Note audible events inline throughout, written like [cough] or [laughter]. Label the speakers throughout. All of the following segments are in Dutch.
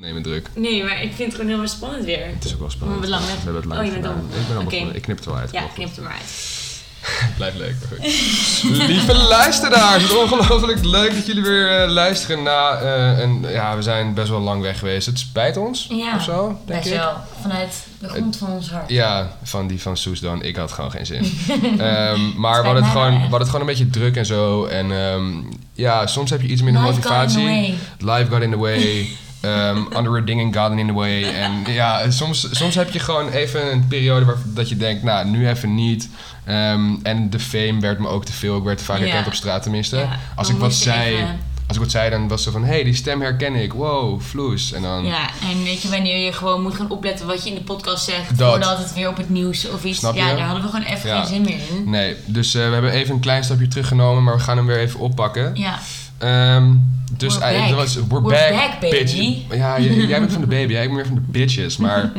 Speaker 1: Neem het druk.
Speaker 2: Nee, maar ik vind het gewoon heel erg spannend weer.
Speaker 1: Het is ook wel spannend.
Speaker 2: We hebben het lang net-
Speaker 1: We hebben het lang
Speaker 2: Oh, je bent
Speaker 1: gedaan.
Speaker 2: om.
Speaker 1: Ik ben allemaal
Speaker 2: Oké.
Speaker 1: goed. Ik knip het wel uit.
Speaker 2: Ja,
Speaker 1: Wel goed.
Speaker 2: knip er maar uit.
Speaker 1: Blijf leuk. maar goed.
Speaker 2: [laughs]
Speaker 1: Lieve luisteraars, het is ongelooflijk leuk dat jullie weer eh, luisteren na eh, een... Ja, we zijn best wel lang weg geweest. Het spijt ons,
Speaker 3: Ja,
Speaker 1: of zo, denk
Speaker 3: Best
Speaker 1: ik.
Speaker 3: wel. Vanuit de grond van ons hart.
Speaker 1: Ja, van die van Soes dan. Ik had gewoon geen zin. Ehm, maar we
Speaker 3: mij
Speaker 1: hadden, het
Speaker 3: wel
Speaker 1: gewoon, we
Speaker 3: echt.
Speaker 1: hadden het gewoon een beetje druk en zo. En ehm, ja, soms heb je iets minder
Speaker 3: Life got in the
Speaker 1: motivatie. Life got in the way. Ehm andere dingen got in the way. En ja, soms, soms heb je gewoon even een periode waar, dat je denkt, nou, nu even niet. Ehm, en de fame werd me ook te veel. Ik werd vaak
Speaker 2: Ja.
Speaker 1: herkend op straat tenminste.
Speaker 2: Ja,
Speaker 1: Als
Speaker 2: dan
Speaker 1: ik wat
Speaker 2: moest je
Speaker 1: zei...
Speaker 2: even-
Speaker 1: Als ik wat zei, dan was ze van, hé, hey, die stem herken ik. Wow, vloes. En dan...
Speaker 2: Ja, en weet je wanneer je gewoon moet gaan opletten wat je in de podcast zegt.
Speaker 1: Dat.
Speaker 3: Voordat het weer op het nieuws of iets.
Speaker 1: Snap je?
Speaker 3: Ja, daar hadden we gewoon even
Speaker 1: Ja.
Speaker 3: geen zin meer in.
Speaker 1: Nee, dus eh, we hebben even een klein stapje teruggenomen, maar we gaan hem weer even oppakken.
Speaker 3: Ja.
Speaker 1: Ehm, dus
Speaker 3: We're
Speaker 1: eigenlijk,
Speaker 3: back.
Speaker 1: dat was we're,
Speaker 3: We're
Speaker 1: back,
Speaker 3: back, baby.
Speaker 1: bitch. Ja, j- jij bent van de baby, jij bent meer van de bitches,
Speaker 3: [laughs]
Speaker 1: maar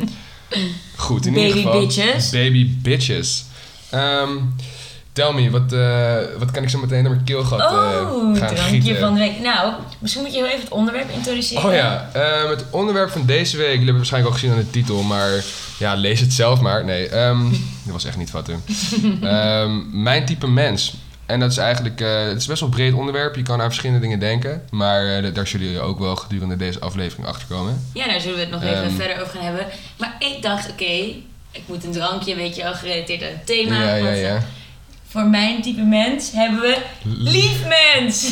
Speaker 1: goed in ieder
Speaker 3: Baby
Speaker 1: geval.
Speaker 3: bitches.
Speaker 1: Baby bitches. Ehm, tell me, wat, eh, wat kan ik zo meteen naar mijn keelgat eh,
Speaker 3: Oh,
Speaker 1: gaan
Speaker 3: drankje
Speaker 1: gieten?
Speaker 3: van de week. Nou, misschien moet je heel even het onderwerp introduceren.
Speaker 1: Oh ja, ehm, het onderwerp van deze week, jullie hebben het waarschijnlijk al gezien aan de titel, maar ja, lees het zelf maar. Nee, ehm, [laughs] dat was echt niet wat doen. Ehm, mijn type mens. En dat is eigenlijk, eh, het is best wel een breed onderwerp, je kan aan verschillende dingen denken, maar eh, daar zullen jullie ook wel gedurende deze aflevering achterkomen.
Speaker 2: Ja, daar zullen we het nog even
Speaker 1: Ehm.
Speaker 2: verder over gaan hebben. Maar ik dacht, oké, ik moet een drankje, weet je wel, gerelateerd aan het thema.
Speaker 1: ja, ja,
Speaker 2: want,
Speaker 1: ja.
Speaker 2: eh,
Speaker 3: Voor mijn type mens hebben we lief mens.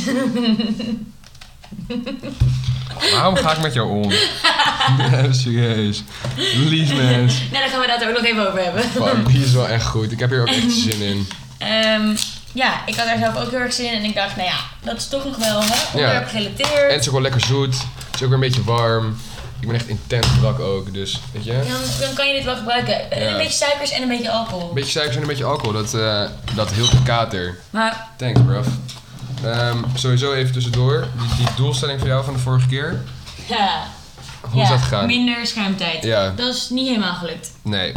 Speaker 1: Waarom ga ik met jou [laughs] om? Nee, serieus. Lief mens.
Speaker 2: Nou, daar gaan we het later ook nog even over hebben.
Speaker 1: Fuck, die is wel echt goed. Ik heb hier ook echt zin in.
Speaker 3: Ehm, ja, ik had daar zelf ook heel erg zin in. En ik dacht, nou ja, dat is toch nog wel hè, onderwerp gerelateerd.
Speaker 1: En het is ook wel lekker zoet. Het is ook weer een beetje warm. Ik ben echt intens brak ook, dus weet je.
Speaker 3: Dan, dan kan je dit wel gebruiken. En
Speaker 1: Ja.
Speaker 3: Een beetje suikers en een beetje alcohol.
Speaker 1: Een beetje suikers en een beetje alcohol, dat, eh dat hield de kater.
Speaker 2: Maar
Speaker 1: Thanks, bruv. Ehm, sowieso even tussendoor, die, die doelstelling van jou van de vorige keer.
Speaker 2: ja,
Speaker 1: Hoe is
Speaker 3: Ja,
Speaker 1: dat gegaan?
Speaker 3: Minder schermtijd.
Speaker 1: Ja,
Speaker 2: dat is niet helemaal gelukt.
Speaker 1: nee.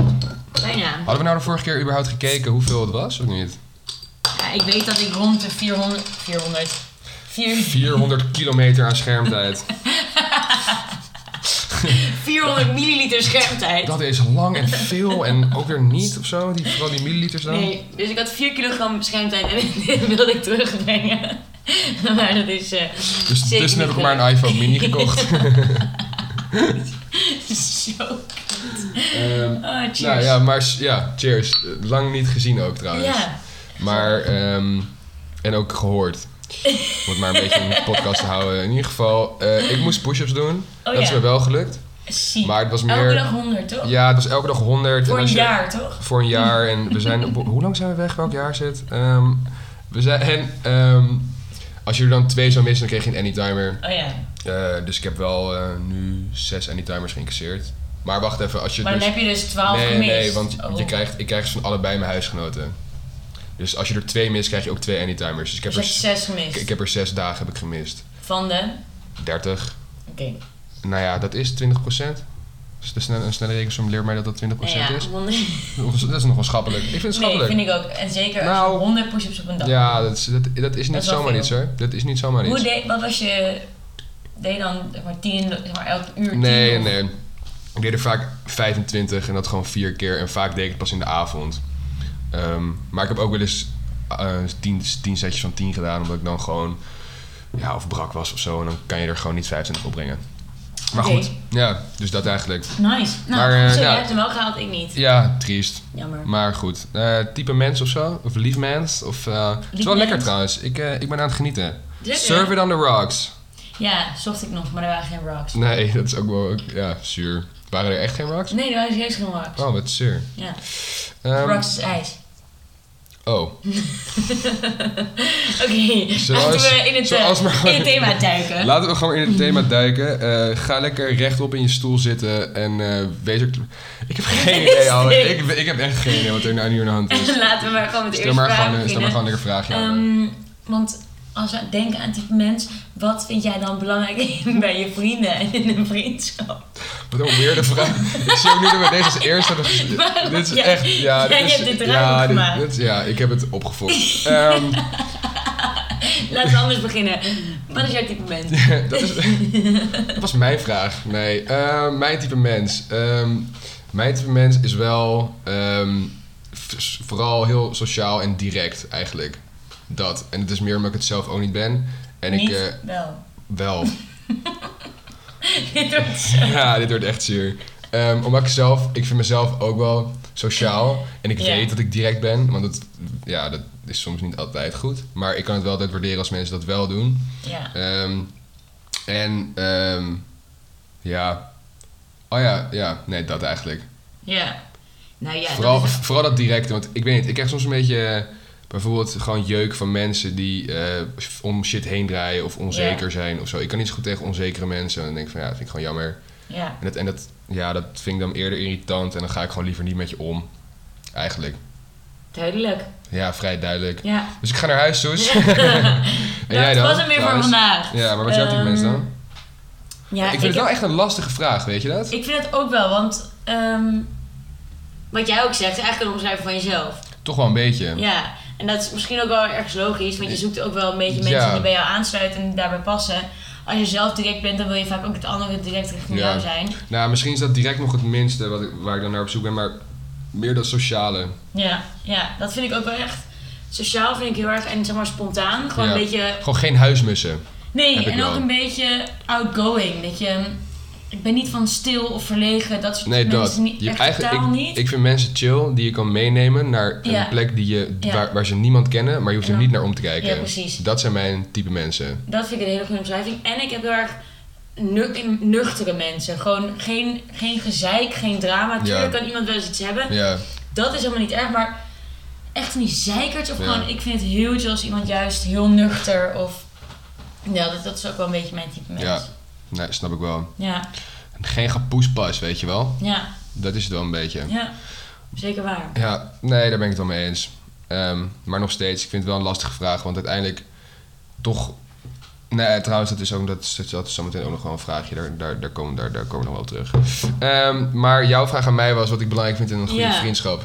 Speaker 2: Bijna.
Speaker 1: Hadden we nou de vorige keer überhaupt gekeken hoeveel het was, of niet?
Speaker 3: Ja, ik weet dat ik rond de 400... 400... [laughs] 400,
Speaker 1: 400 kilometer aan schermtijd.
Speaker 2: 400 milliliter schermtijd.
Speaker 1: Dat is lang en veel en ook weer niet of zo, die, vooral die milliliters dan.
Speaker 2: Nee, dus ik had 4 kilogram schermtijd
Speaker 3: [laughs]
Speaker 2: en dit wilde ik terugbrengen. Maar dat is eh,
Speaker 1: Dus,
Speaker 2: zeker
Speaker 1: dus
Speaker 2: niet
Speaker 1: heb ik maar een
Speaker 2: gelukt.
Speaker 1: iPhone mini gekocht.
Speaker 3: [laughs]
Speaker 2: zo.
Speaker 1: Ehm,
Speaker 3: Oh, Ah, cheers.
Speaker 1: nou ja, maar s- ja, cheers. Lang niet gezien ook trouwens.
Speaker 3: Ja.
Speaker 1: Maar, ehm, en ook gehoord. Om het maar een beetje in de podcast te houden. In ieder geval, eh, ik moest push-ups doen. dat is
Speaker 3: Oh ja.
Speaker 1: me wel gelukt.
Speaker 3: Ziek.
Speaker 1: Maar het was
Speaker 3: Elke
Speaker 1: meer...
Speaker 3: dag 100, toch?
Speaker 1: Ja, het was elke dag 100.
Speaker 3: Voor
Speaker 1: en
Speaker 3: een
Speaker 1: als je-
Speaker 3: jaar, toch?
Speaker 1: Voor een jaar. En we zijn... op- hoe lang zijn we weg? Welk jaar zit? Ehm, we zijn... En, ehm, als je er dan twee zou missen, dan kreeg je een anytimer.
Speaker 3: Oh ja.
Speaker 1: Eh, dus ik heb wel eh, nu zes anytimers geïncasseerd. Maar wacht even, als je
Speaker 3: Maar dan
Speaker 1: dus...
Speaker 3: heb je dus 12
Speaker 1: nee,
Speaker 3: gemist.
Speaker 1: nee, want
Speaker 3: Oh.
Speaker 1: je krijgt, ik krijg ze van allebei mijn huisgenoten. Dus als je er twee mist, krijg je ook twee anytimers. Dus ik heb
Speaker 3: Dus je
Speaker 1: er
Speaker 3: hebt 6 gemist.
Speaker 1: Ik, ik heb er zes dagen heb ik gemist.
Speaker 3: Van de...
Speaker 1: 30.
Speaker 3: Oké.
Speaker 1: Nou ja, dat is 20%. Dus de snelle, een snelle rekensom leert mij dat dat 20%
Speaker 2: Ja,
Speaker 1: is.
Speaker 2: 100.
Speaker 1: [laughs] Dat is nog wel schappelijk. Ik vind het
Speaker 3: Nou Nee,
Speaker 1: schappelijk.
Speaker 3: vind ik ook. En zeker als
Speaker 1: Nou.
Speaker 3: je 100 push-ups op een dag.
Speaker 1: Ja, dat is, dat, dat is niet
Speaker 3: is wel
Speaker 1: zomaar
Speaker 3: veel.
Speaker 1: iets hoor. Dat is niet zomaar
Speaker 3: Hoe
Speaker 1: iets.
Speaker 3: deed... Wat was je... Deed je dan zeg maar 10, zeg maar elk uur 10?
Speaker 1: Nee,
Speaker 3: of-
Speaker 1: nee. Ik deed er vaak 25 en dat gewoon vier keer. En vaak deed ik het pas in de avond. Ehm, maar ik heb ook wel eens 10 setjes van 10 gedaan. Omdat ik dan gewoon ja, of brak was of zo. En dan kan je er gewoon niet 25 op brengen. Maar
Speaker 3: Oké.
Speaker 1: goed, ja, dus dat eigenlijk.
Speaker 3: Nice.
Speaker 2: Nou,
Speaker 1: Maar, eh,
Speaker 2: zo,
Speaker 1: nou-
Speaker 2: jij hebt hem wel gehaald, ik niet.
Speaker 1: Ja, triest.
Speaker 2: Jammer.
Speaker 1: Maar goed, eh, type mens of zo? Of lief mens? Of, eh, het is wel
Speaker 3: mens.
Speaker 1: lekker trouwens. Ik, eh, ik ben aan het genieten.
Speaker 2: Lekker.
Speaker 1: Serve it on the rocks.
Speaker 3: eh, Ja, zocht ik nog, maar er waren geen rocks.
Speaker 1: Nee, [laughs] dat is ook wel... Ja, zuur. Waren er echt geen rocks?
Speaker 3: Nee, er waren juist geen rocks.
Speaker 1: Oh, wat zuur.
Speaker 3: Ja.
Speaker 1: Ehm,
Speaker 3: rocks is ijs.
Speaker 1: Oh.
Speaker 3: Oké, laten
Speaker 1: Zoals-
Speaker 3: we in het, eh,
Speaker 1: zoals maar-
Speaker 3: in het
Speaker 1: [laughs]
Speaker 3: thema duiken.
Speaker 1: Laten we gewoon in het thema duiken. Eh, ga lekker rechtop in je stoel zitten en eh, wees er... Ik heb
Speaker 3: [laughs]
Speaker 1: geen
Speaker 3: Is
Speaker 1: idee, ouwe.
Speaker 3: dit?
Speaker 1: Ik, ik heb echt geen idee wat er nou nu aan de hand is.
Speaker 3: [laughs] laten we maar gewoon met [laughs] de
Speaker 1: Stel
Speaker 3: eerste
Speaker 1: maar
Speaker 3: vraag
Speaker 1: gewoon, eh, stel maar
Speaker 3: beginnen.
Speaker 1: gewoon lekker vragen. ouwe.
Speaker 3: Ehm, want als we denken aan type mens, wat vind jij dan belangrijk [laughs] bij je vrienden en in een vriendschap?
Speaker 1: Wat een weerde vraag. ik zie ook niet dat we deze als eerste hebben gezien.
Speaker 3: Waarom?
Speaker 1: Dit is
Speaker 3: Ja,
Speaker 1: echt... Ja,
Speaker 3: jij
Speaker 1: dit is,
Speaker 3: hebt dit
Speaker 1: ja,
Speaker 3: ruim gemaakt.
Speaker 1: dit- dit- ja, ik heb het opgefokt. Ehm,
Speaker 2: Laten we anders beginnen. Wat is jouw type mens?
Speaker 1: [laughs] dat, is, dat was mijn vraag. Nee, eh, mijn type mens. Ehm, mijn type mens is wel ehm, v- vooral heel sociaal en direct eigenlijk. Dat. En het is meer omdat ik het zelf ook niet ben. [laughs] En ik
Speaker 3: Niet
Speaker 1: eh,
Speaker 3: wel. [laughs]
Speaker 1: wel.
Speaker 3: Dit wordt zo-
Speaker 1: [laughs] Ja, dit wordt echt zuur. Ehm, omdat ik zelf, ik vind mezelf ook wel sociaal. En ik
Speaker 3: Ja.
Speaker 1: weet dat ik direct ben. Want dat, ja, dat is soms niet altijd goed. Maar ik kan het wel altijd waarderen als mensen dat wel doen.
Speaker 3: Ja.
Speaker 1: Ehm, en ehm, ja. Oh ja, ja, nee, dat eigenlijk.
Speaker 2: Ja. Nou ja,
Speaker 1: vooral,
Speaker 2: dat is-
Speaker 1: vooral dat directe, want ik weet niet, ik krijg soms een beetje eh, bijvoorbeeld gewoon jeuk van mensen die eh, om shit heen draaien of onzeker zijn of zo. Ik kan niet zo goed tegen onzekere mensen en dan denk ik van ja, dat vind ik gewoon jammer.
Speaker 3: Ja.
Speaker 1: En dat, en dat, ja, dat vind ik dan eerder irritant en dan ga ik gewoon liever niet met je om. Eigenlijk.
Speaker 2: duidelijk.
Speaker 1: Ja, vrij duidelijk.
Speaker 2: Ja. [laughs]
Speaker 1: Dus ik ga naar huis, Soes. [laughs] en jij
Speaker 2: dat
Speaker 1: dan?
Speaker 2: was hem weer voor
Speaker 1: trouwens?
Speaker 2: vandaag.
Speaker 1: Ja, maar wat is jouw type
Speaker 3: Ehm,
Speaker 1: mensen dan?
Speaker 2: Ja,
Speaker 1: ik vind het wel echt een lastige vraag, weet je dat?
Speaker 3: Ik vind het ook wel, want ehm,
Speaker 2: Wat jij ook zegt, is eigenlijk een omschrijving van jezelf.
Speaker 1: Toch wel een beetje.
Speaker 2: Ja, en dat is misschien ook wel ergens logisch, want je zoekt ook wel een beetje mensen
Speaker 1: Ja.
Speaker 2: die bij
Speaker 3: bij jou aansluiten en daarbij passen. Als je zelf direct bent, dan wil je vaak ook het andere direct richting
Speaker 1: Ja.
Speaker 3: jou zijn.
Speaker 1: Nou, misschien is dat direct nog het minste wat ik, waar ik dan naar op zoek ben, maar meer dat sociale.
Speaker 3: Ja.
Speaker 2: Ja, dat vind ik ook wel echt. Sociaal vind ik heel erg en zeg maar spontaan. Gewoon
Speaker 1: Ja.
Speaker 2: een beetje.
Speaker 1: Gewoon geen huismussen. Heb
Speaker 3: Nee,
Speaker 1: ik
Speaker 3: en ook
Speaker 1: wel.
Speaker 3: een beetje outgoing. Dat je, ik ben niet van stil of verlegen, dat soort
Speaker 1: Nee,
Speaker 3: mensen
Speaker 1: dat.
Speaker 3: niet.
Speaker 1: Je hebt
Speaker 3: echt
Speaker 1: eigenlijk,
Speaker 3: totaal
Speaker 1: ik,
Speaker 3: niet.
Speaker 1: ik vind mensen chill die je kan meenemen naar
Speaker 3: Ja.
Speaker 1: een plek die je,
Speaker 3: Ja.
Speaker 1: waar, waar ze niemand kennen, maar je hoeft er
Speaker 3: Ja.
Speaker 1: niet naar om te kijken.
Speaker 2: Ja, precies.
Speaker 1: Dat zijn mijn type mensen.
Speaker 2: Dat vind ik een hele goede omschrijving. En ik heb heel erg nu- nuchtere mensen. Gewoon geen, geen gezeik, geen drama.
Speaker 1: Ja.
Speaker 2: Tuurlijk kan iemand wel eens iets hebben.
Speaker 1: Ja,
Speaker 3: Dat is helemaal niet erg, maar echt niet zeikerts of
Speaker 1: Ja.
Speaker 3: gewoon... Ik vind het heel chill als iemand juist heel nuchter of... Ja, dat, dat is ook wel een beetje mijn type mens.
Speaker 1: Ja. nee, snap ik wel.
Speaker 3: Ja,
Speaker 1: Geen gepoespas, weet je wel.
Speaker 3: ja,
Speaker 1: Dat is het wel een beetje.
Speaker 3: ja.
Speaker 2: Zeker waar.
Speaker 1: Ja, nee, daar ben ik het wel mee eens. Ehm, maar nog steeds, ik vind het wel een lastige vraag, want uiteindelijk toch. Nee, trouwens, dat is ook dat is, dat is zometeen ook nog wel een vraagje. Daar, daar, daar, komen, daar, daar komen we nog wel op terug. Ehm, maar jouw vraag aan mij was wat ik belangrijk vind in een goede
Speaker 2: Ja.
Speaker 1: vriendschap.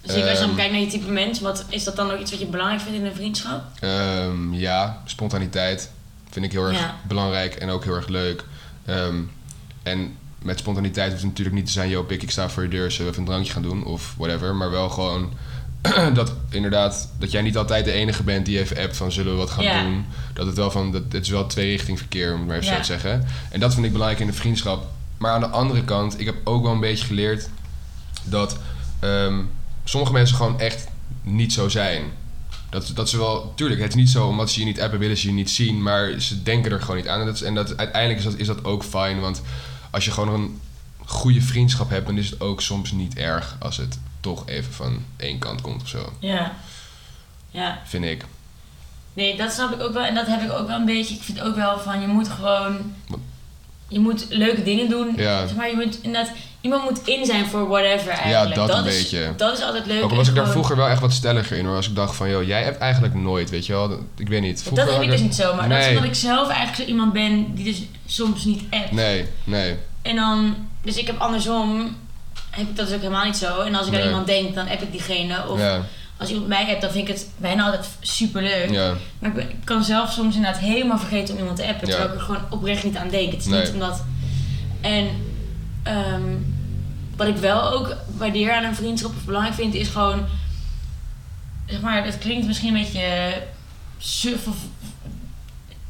Speaker 2: Zeker Dus als je dan
Speaker 1: Ehm.
Speaker 2: kijkt naar je type mens. Wat, is dat dan ook iets wat je belangrijk vindt in een vriendschap?
Speaker 1: Ehm, ja, spontaniteit vind ik heel erg
Speaker 2: Ja.
Speaker 1: belangrijk en ook heel erg leuk. Ehm, en met spontaniteit hoeft het natuurlijk niet te zijn: yo, pik, ik sta voor je deur, zullen we even een drankje gaan doen of whatever. Maar wel gewoon [clears throat] dat inderdaad, dat jij niet altijd de enige bent die even appt van zullen we wat gaan
Speaker 3: Ja.
Speaker 1: doen. Dat het wel van, dat, het is wel tweerichting verkeer, om het maar even
Speaker 3: Ja.
Speaker 1: zo te zeggen. En dat vind ik belangrijk in de vriendschap. Maar aan de andere kant, ik heb ook wel een beetje geleerd dat ehm, sommige mensen gewoon echt niet zo zijn. Dat, dat ze wel, tuurlijk, het is niet zo omdat ze je niet appen, willen ze je niet zien, maar ze denken er gewoon niet aan. En, dat, is- en dat, uiteindelijk is dat, is dat ook fijn, want als je gewoon een goede vriendschap hebt, dan is het ook soms niet erg als het toch even van één kant komt of zo,
Speaker 3: Ja.
Speaker 2: Ja.
Speaker 1: vind ik.
Speaker 3: Nee, dat snap ik ook wel. En dat heb ik ook wel een beetje. Ik vind ook wel van, je moet gewoon... Je moet leuke dingen doen.
Speaker 1: Ja.
Speaker 3: Zeg maar je moet inderdaad... Iemand moet in zijn voor whatever eigenlijk.
Speaker 1: dat een
Speaker 3: is,
Speaker 1: beetje.
Speaker 3: Dat is altijd leuk.
Speaker 1: Ook al
Speaker 3: en
Speaker 1: was ik daar
Speaker 3: gewoon-
Speaker 1: vroeger wel echt wat stelliger in hoor. Als ik dacht van, joh, jij hebt eigenlijk nooit, weet je wel. Dat- Ik weet niet. Vroeger
Speaker 3: Dat
Speaker 1: had
Speaker 3: heb ik dus niet zo, maar dat is
Speaker 1: Nee.
Speaker 3: omdat ik zelf eigenlijk zo iemand ben die dus soms niet appt.
Speaker 1: Nee, nee.
Speaker 3: En dan, dus ik heb andersom, heb ik dat dus ook helemaal niet zo. En als ik
Speaker 1: Nee.
Speaker 3: aan iemand denk, dan app ik diegene. Of
Speaker 1: Ja,
Speaker 3: als iemand mij appt, dan vind ik het bijna altijd superleuk.
Speaker 1: ja,
Speaker 3: Maar ik, ben- ik kan zelf soms inderdaad helemaal vergeten om iemand te
Speaker 1: Ja.
Speaker 3: appen. Terwijl ik er gewoon oprecht niet aan denk. Het is
Speaker 1: Nee.
Speaker 3: niet omdat... En ehm, wat ik wel ook waardeer aan een vriendschap of belangrijk vind, is gewoon... Zeg maar, het klinkt misschien een beetje suf of...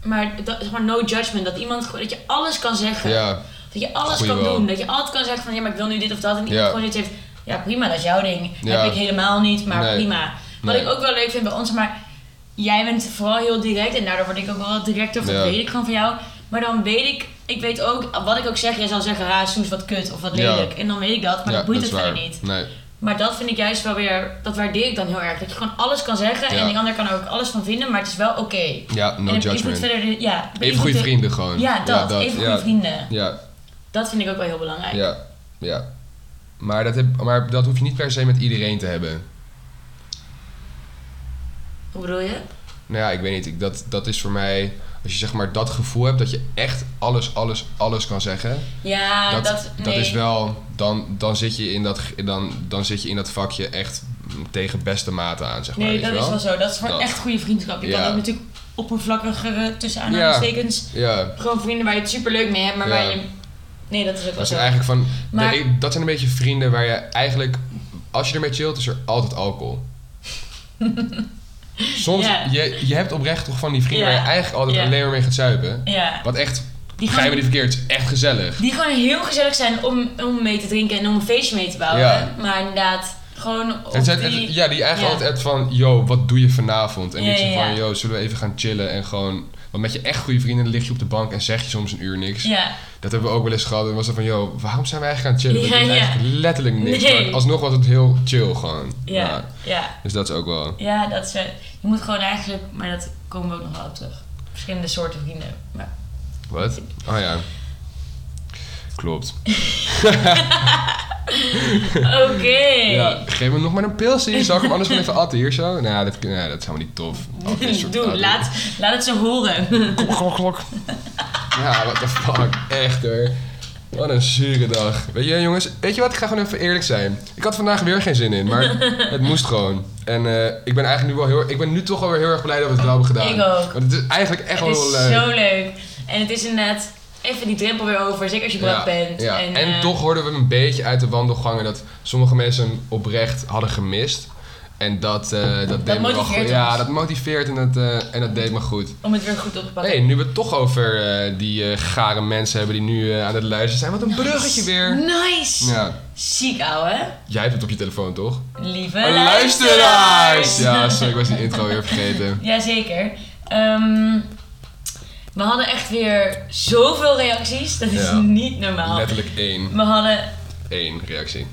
Speaker 3: Maar dat, zeg maar no judgment. Dat iemand gewoon- dat je alles kan zeggen.
Speaker 1: ja.
Speaker 3: Dat je alles
Speaker 1: Goeie
Speaker 3: kan
Speaker 1: wel.
Speaker 3: doen. Dat je altijd kan zeggen van ja, maar ik wil nu dit of dat. En iemand
Speaker 1: Ja.
Speaker 3: gewoon iets heeft. Ja, prima, dat is jouw ding.
Speaker 1: Ja.
Speaker 3: Heb ik helemaal niet, maar
Speaker 1: Nee.
Speaker 3: prima. Wat
Speaker 1: Nee.
Speaker 3: ik ook wel leuk vind bij ons, maar jij bent vooral heel direct. En daardoor word ik ook wel wat directer. Of
Speaker 1: Ja.
Speaker 3: dat weet ik gewoon van jou. Maar dan weet ik, ik weet ook, wat ik ook zeg, jij zal zeggen, ha, Soes, wat kut of wat
Speaker 1: Ja.
Speaker 3: lelijk. En dan weet ik dat, maar
Speaker 1: ja,
Speaker 3: dat boeit
Speaker 1: dat
Speaker 3: het
Speaker 1: is waar.
Speaker 3: verder niet.
Speaker 1: Nee,
Speaker 3: Maar dat vind ik juist wel weer, dat waardeer ik dan heel erg. Dat je gewoon alles kan zeggen
Speaker 1: Ja.
Speaker 3: en die ander kan er ook alles van vinden, maar het is wel oké.
Speaker 1: ja, no
Speaker 3: en het beïnvloedt
Speaker 1: judgment.
Speaker 3: verder, de- ja,
Speaker 1: Even goede
Speaker 3: beïnvloedt de-
Speaker 1: vrienden gewoon.
Speaker 3: Ja, dat, even goede
Speaker 1: ja.
Speaker 3: vrienden.
Speaker 1: Ja,
Speaker 3: Dat vind ik ook wel heel belangrijk.
Speaker 1: ja, ja. Maar dat, heb, maar dat hoef je niet per se met iedereen te hebben.
Speaker 3: Hoe bedoel je?
Speaker 1: Nou ja, ik weet niet. Ik, dat, dat is voor mij... Als je zeg maar dat gevoel hebt dat je echt alles, alles, alles kan zeggen...
Speaker 3: Ja,
Speaker 1: dat,
Speaker 3: dat,
Speaker 1: dat,
Speaker 3: nee.
Speaker 1: is wel, dan, dan, zit je in dat, ge- dan, dan zit je in dat vakje echt tegen beste mate aan, zeg maar.
Speaker 3: Nee,
Speaker 1: weet
Speaker 3: dat
Speaker 1: je
Speaker 3: is wel zo. Dat is voor
Speaker 1: Dat.
Speaker 3: echt goede vriendschap. Je
Speaker 1: Ja.
Speaker 3: kan ook natuurlijk oppervlakkigere, tussen
Speaker 1: aanhalingstekens,
Speaker 3: aanhalingstekens,
Speaker 1: Ja,
Speaker 3: gewoon vrienden waar je het super leuk mee hebt, maar
Speaker 1: Ja.
Speaker 3: waar je. Nee, dat is ook wel
Speaker 1: dat
Speaker 3: zo.
Speaker 1: zijn eigenlijk van...
Speaker 3: Maar-
Speaker 1: nee, dat zijn een beetje vrienden waar je eigenlijk... Als je ermee chillt, is er altijd
Speaker 3: [laughs]
Speaker 1: alcohol. Soms,
Speaker 3: Ja.
Speaker 1: je, je hebt oprecht toch van die vrienden
Speaker 3: Ja.
Speaker 1: waar je eigenlijk altijd
Speaker 3: Ja.
Speaker 1: alleen maar mee gaat zuipen.
Speaker 3: Ja.
Speaker 1: Wat echt,
Speaker 3: Die
Speaker 1: begrijp me
Speaker 3: gewoon,
Speaker 1: niet verkeerd, het is echt gezellig.
Speaker 3: die gewoon heel gezellig zijn om, om mee te drinken en om een feestje mee te bouwen.
Speaker 1: Ja.
Speaker 3: Maar inderdaad, gewoon op
Speaker 1: Het zijn, het-
Speaker 3: die...
Speaker 1: ja, die eigenlijk
Speaker 3: ja.
Speaker 1: altijd appt van, yo, wat doe je vanavond? En
Speaker 3: Ja,
Speaker 1: ik zeg
Speaker 3: ja,
Speaker 1: van,
Speaker 3: ja.
Speaker 1: yo, zullen we even gaan chillen en gewoon... Want met je echt goede vrienden dan lig je op de bank en zeg je soms een uur niks.
Speaker 3: ja.
Speaker 1: Dat hebben we ook wel eens gehad. En was het van, yo, waarom zijn we eigenlijk aan het chillen?
Speaker 3: Ja,
Speaker 1: we doen
Speaker 3: ja.
Speaker 1: eigenlijk letterlijk niks.
Speaker 3: Nee.
Speaker 1: Maar alsnog was het heel chill gewoon.
Speaker 3: Ja,
Speaker 1: Ja.
Speaker 3: ja,
Speaker 1: Dus dat is ook wel...
Speaker 3: ja, dat is, eh, je moet gewoon eigenlijk, maar dat komen we ook nog wel op terug. Verschillende soorten vrienden.
Speaker 1: [laughs]
Speaker 3: Maar,
Speaker 1: Wat? Oh ja. Klopt.
Speaker 3: Oké.
Speaker 1: Ja, geef me nog maar een pilsie. Zal ik hem anders gewoon even atten hier zo? Nou, dat, nou, dat is helemaal niet
Speaker 3: [laughs]
Speaker 1: tof. Atten is een soort
Speaker 3: Doe,
Speaker 1: atten.
Speaker 3: laat, laat het ze
Speaker 1: [laughs]
Speaker 3: horen.
Speaker 1: Klok, klok, klok. [laughs] Ja, what the fuck. Echt hoor. Wat een zure dag. Weet je, jongens, weet je wat? Ik ga gewoon even eerlijk zijn. Ik had vandaag weer geen zin in,
Speaker 3: [laughs]
Speaker 1: maar het moest gewoon. En eh, ik ben eigenlijk nu wel heel Ik ben nu toch alweer heel erg blij dat we het wel hebben gedaan.
Speaker 3: Ik ook.
Speaker 1: Want het is eigenlijk echt
Speaker 3: Het
Speaker 1: wel eh, heel
Speaker 3: is
Speaker 1: leuk.
Speaker 3: zo leuk. En het is inderdaad even die drempel weer over, zeker als je brak
Speaker 1: ja,
Speaker 3: bent.
Speaker 1: ja. En,
Speaker 3: eh,
Speaker 1: toch hoorden we een beetje uit de wandelgangen dat sommige mensen hem oprecht hadden gemist. En dat, eh, dat, deed me wel
Speaker 3: motiveert
Speaker 1: goed. Ja,
Speaker 3: ons.
Speaker 1: dat motiveert en dat, eh, en dat deed me goed.
Speaker 3: Om het weer goed op te pakken.
Speaker 1: Hey, nu we het toch over eh, die eh, gare mensen hebben die nu eh, aan het luisteren zijn. Wat een bruggetje weer.
Speaker 3: Nice!
Speaker 1: Ja,
Speaker 3: Ziek, ouwe.
Speaker 1: jij hebt het op je telefoon toch?
Speaker 3: Lieve
Speaker 1: Een
Speaker 3: luisteraars!
Speaker 1: Ja, sorry, ik was die intro weer
Speaker 3: [laughs]
Speaker 1: vergeten.
Speaker 3: Jazeker. Ehm, we hadden echt weer zoveel reacties. Dat is
Speaker 1: Ja.
Speaker 3: niet normaal.
Speaker 1: Letterlijk één,
Speaker 3: We hadden...
Speaker 1: één reactie.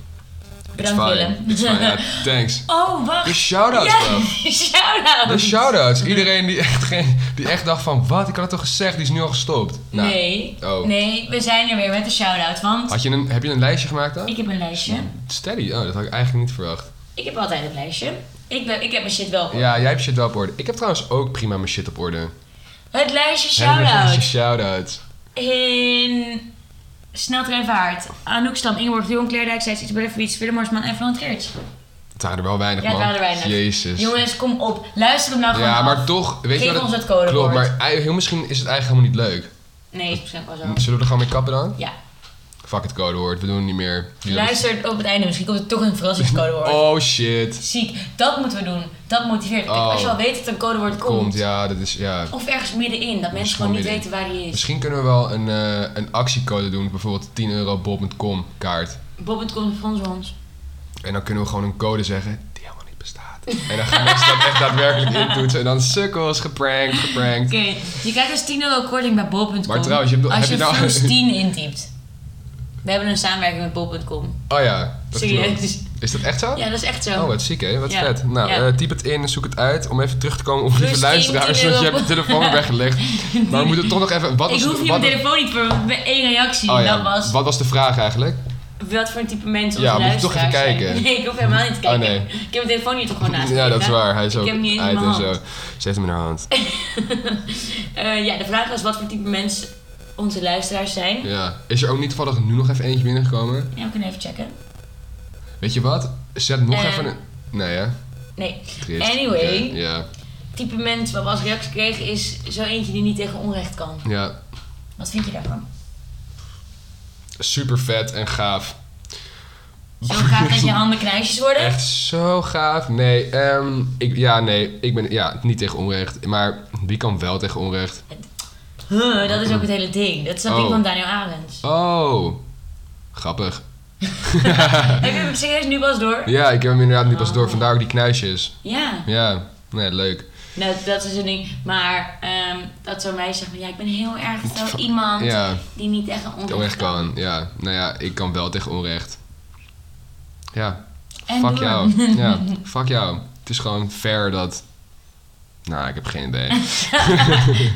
Speaker 1: It's
Speaker 3: Bedankt,
Speaker 1: fine.
Speaker 3: Willem.
Speaker 1: It's fine. Ja, thanks.
Speaker 3: [laughs] Oh,
Speaker 1: De
Speaker 3: wacht.
Speaker 1: shout-outs,
Speaker 3: [laughs]
Speaker 1: bro.
Speaker 3: shout-out.
Speaker 1: De shout-outs. Iedereen die echt, geen, die echt dacht van, wat, ik had het toch gezegd, die is nu al gestopt. Nou,
Speaker 3: Nee.
Speaker 1: Oh.
Speaker 3: Nee, we zijn er weer met de shout-out. Want
Speaker 1: Had je een, heb je een lijstje gemaakt dan?
Speaker 3: ik heb een lijstje.
Speaker 1: Steady, oh, dat had ik eigenlijk niet verwacht.
Speaker 3: Ik heb altijd een lijstje. Ik, ben, ik heb mijn shit wel op.
Speaker 1: Ja, jij hebt shit wel op orde. Ik heb trouwens ook prima mijn shit op orde.
Speaker 3: Het lijstje
Speaker 1: Hele
Speaker 3: shout-out.
Speaker 1: lijstje Shout-outs.
Speaker 3: In Sneltreinvaart, Anouk Stam, Ingeborg de Jong, Claire Dijk, Zijs, Isabelle Fiets, Willem Horsman en Florent Geerts.
Speaker 1: Het waren er wel weinig,
Speaker 3: Ja,
Speaker 1: man.
Speaker 3: het waren er weinig.
Speaker 1: Jezus.
Speaker 3: Jongens, kom op. Luister hem nou gewoon
Speaker 1: ja,
Speaker 3: af.
Speaker 1: maar toch, weet je
Speaker 3: Geef
Speaker 1: wat
Speaker 3: ons het codewoord.
Speaker 1: Klopt, maar ei- heel misschien is het eigenlijk helemaal niet leuk.
Speaker 3: Nee, is misschien wel zo.
Speaker 1: Zullen we er gewoon mee kappen dan?
Speaker 3: Ja.
Speaker 1: Fuck het codewoord, we doen het niet meer. Jullie
Speaker 3: Luister op het einde. Misschien komt er toch een verrassingscodewoord.
Speaker 1: hebben- Oh shit.
Speaker 3: Ziek. Dat moeten we doen. Dat motiveert. Kijk,
Speaker 1: Oh.
Speaker 3: als je al weet dat er een codewoord komt.
Speaker 1: Komt, ja, dat is, ja.
Speaker 3: Of ergens middenin. Dat mensen gewoon niet
Speaker 1: middenin.
Speaker 3: weten waar die is.
Speaker 1: Misschien kunnen we wel een, eh, een actiecode doen, bijvoorbeeld 10 euro bob.com kaart.
Speaker 3: Bob.com van ons.
Speaker 1: En dan kunnen we gewoon een code zeggen die helemaal niet bestaat. En dan gaan mensen dat echt daadwerkelijk intoetsen en dan sukkels, geprankt, geprankt.
Speaker 3: Oké. Je krijgt dus 10 euro korting bij Bob.com.
Speaker 1: Maar trouwens, je hebt-
Speaker 3: als
Speaker 1: heb
Speaker 3: je,
Speaker 1: je nou-
Speaker 3: Fuse
Speaker 1: [laughs]
Speaker 3: 10 intypt. We hebben een samenwerking met Bob.com.
Speaker 1: Oh ja, dat klopt.
Speaker 3: Serieus.
Speaker 1: Is dat echt zo?
Speaker 3: Ja, dat is echt zo.
Speaker 1: Oh, wat ziek hè, wat
Speaker 3: Ja.
Speaker 1: vet. Nou,
Speaker 3: Ja.
Speaker 1: eh, typ het in, zoek het uit om even terug te komen op lieve
Speaker 3: 10
Speaker 1: luisteraars.
Speaker 3: euro.
Speaker 1: Want je hebt de telefoon weer
Speaker 3: [laughs]
Speaker 1: weggelegd. Maar we moeten toch nog even. Wat
Speaker 3: ik
Speaker 1: was,
Speaker 3: hoef niet
Speaker 1: wat,
Speaker 3: mijn telefoon niet voor bij één reactie.
Speaker 1: oh ja,
Speaker 3: Dat was Oh,
Speaker 1: wat was de vraag eigenlijk?
Speaker 3: wat voor een type mensen
Speaker 1: Ja,
Speaker 3: onze
Speaker 1: moet je toch
Speaker 3: luisteraars
Speaker 1: even
Speaker 3: zijn.
Speaker 1: kijken.
Speaker 3: Nee, ik hoef helemaal niet te
Speaker 1: Oh,
Speaker 3: kijken.
Speaker 1: nee.
Speaker 3: Ik heb mijn telefoon hier toch gewoon naast me
Speaker 1: Ja, dat is
Speaker 3: liggen.
Speaker 1: waar. Hij is ook
Speaker 3: nou, Ik heb hem niet eens in
Speaker 1: uit
Speaker 3: mijn
Speaker 1: en
Speaker 3: hand.
Speaker 1: zo. Ze heeft hem in haar
Speaker 3: [laughs]
Speaker 1: hand.
Speaker 3: Eh, ja, de vraag was wat voor type mensen onze luisteraars zijn.
Speaker 1: Ja. Is er ook niet toevallig nu nog even eentje binnengekomen?
Speaker 3: Ja, we kunnen even checken.
Speaker 1: Weet je wat? Zet nog
Speaker 3: Eh.
Speaker 1: even een. Nee, hè?
Speaker 3: Nee,
Speaker 1: Triest.
Speaker 3: Anyway.
Speaker 1: Oké, Ja.
Speaker 3: type mens wat we als reactie kregen is zo eentje die niet tegen onrecht kan.
Speaker 1: ja.
Speaker 3: Wat vind je daarvan?
Speaker 1: Super vet en gaaf.
Speaker 3: Zo graag
Speaker 1: [laughs]
Speaker 3: dat je handen knijsjes worden?
Speaker 1: Echt zo gaaf. Nee, ehm, ik, ja, nee. Ik ben ja, niet tegen onrecht. Maar wie kan wel tegen onrecht?
Speaker 3: Huh, dat is ook het hele ding. Dat is dat ding
Speaker 1: Oh.
Speaker 3: van Daniel Arends.
Speaker 1: Oh, grappig. [laughs]
Speaker 3: Heb je hem serieus nu pas door?
Speaker 1: Ja, ik heb hem inderdaad nu pas door.
Speaker 3: Oh.
Speaker 1: Vandaar ook die knuisjes.
Speaker 3: Ja,
Speaker 1: Ja, nee, leuk.
Speaker 3: nou, dat is een ding. Maar ehm, dat zo'n meisje zegt van ja, ik ben heel erg zo iemand
Speaker 1: Ja,
Speaker 3: die niet echt onrecht,
Speaker 1: het onrecht kan. Ja, nou ja, ik kan wel tegen onrecht. Ja,
Speaker 3: En
Speaker 1: fuck
Speaker 3: door.
Speaker 1: jou.
Speaker 3: [laughs]
Speaker 1: Ja, fuck jou. Het is gewoon fair dat... Nou, ik heb geen
Speaker 3: [laughs]
Speaker 1: idee.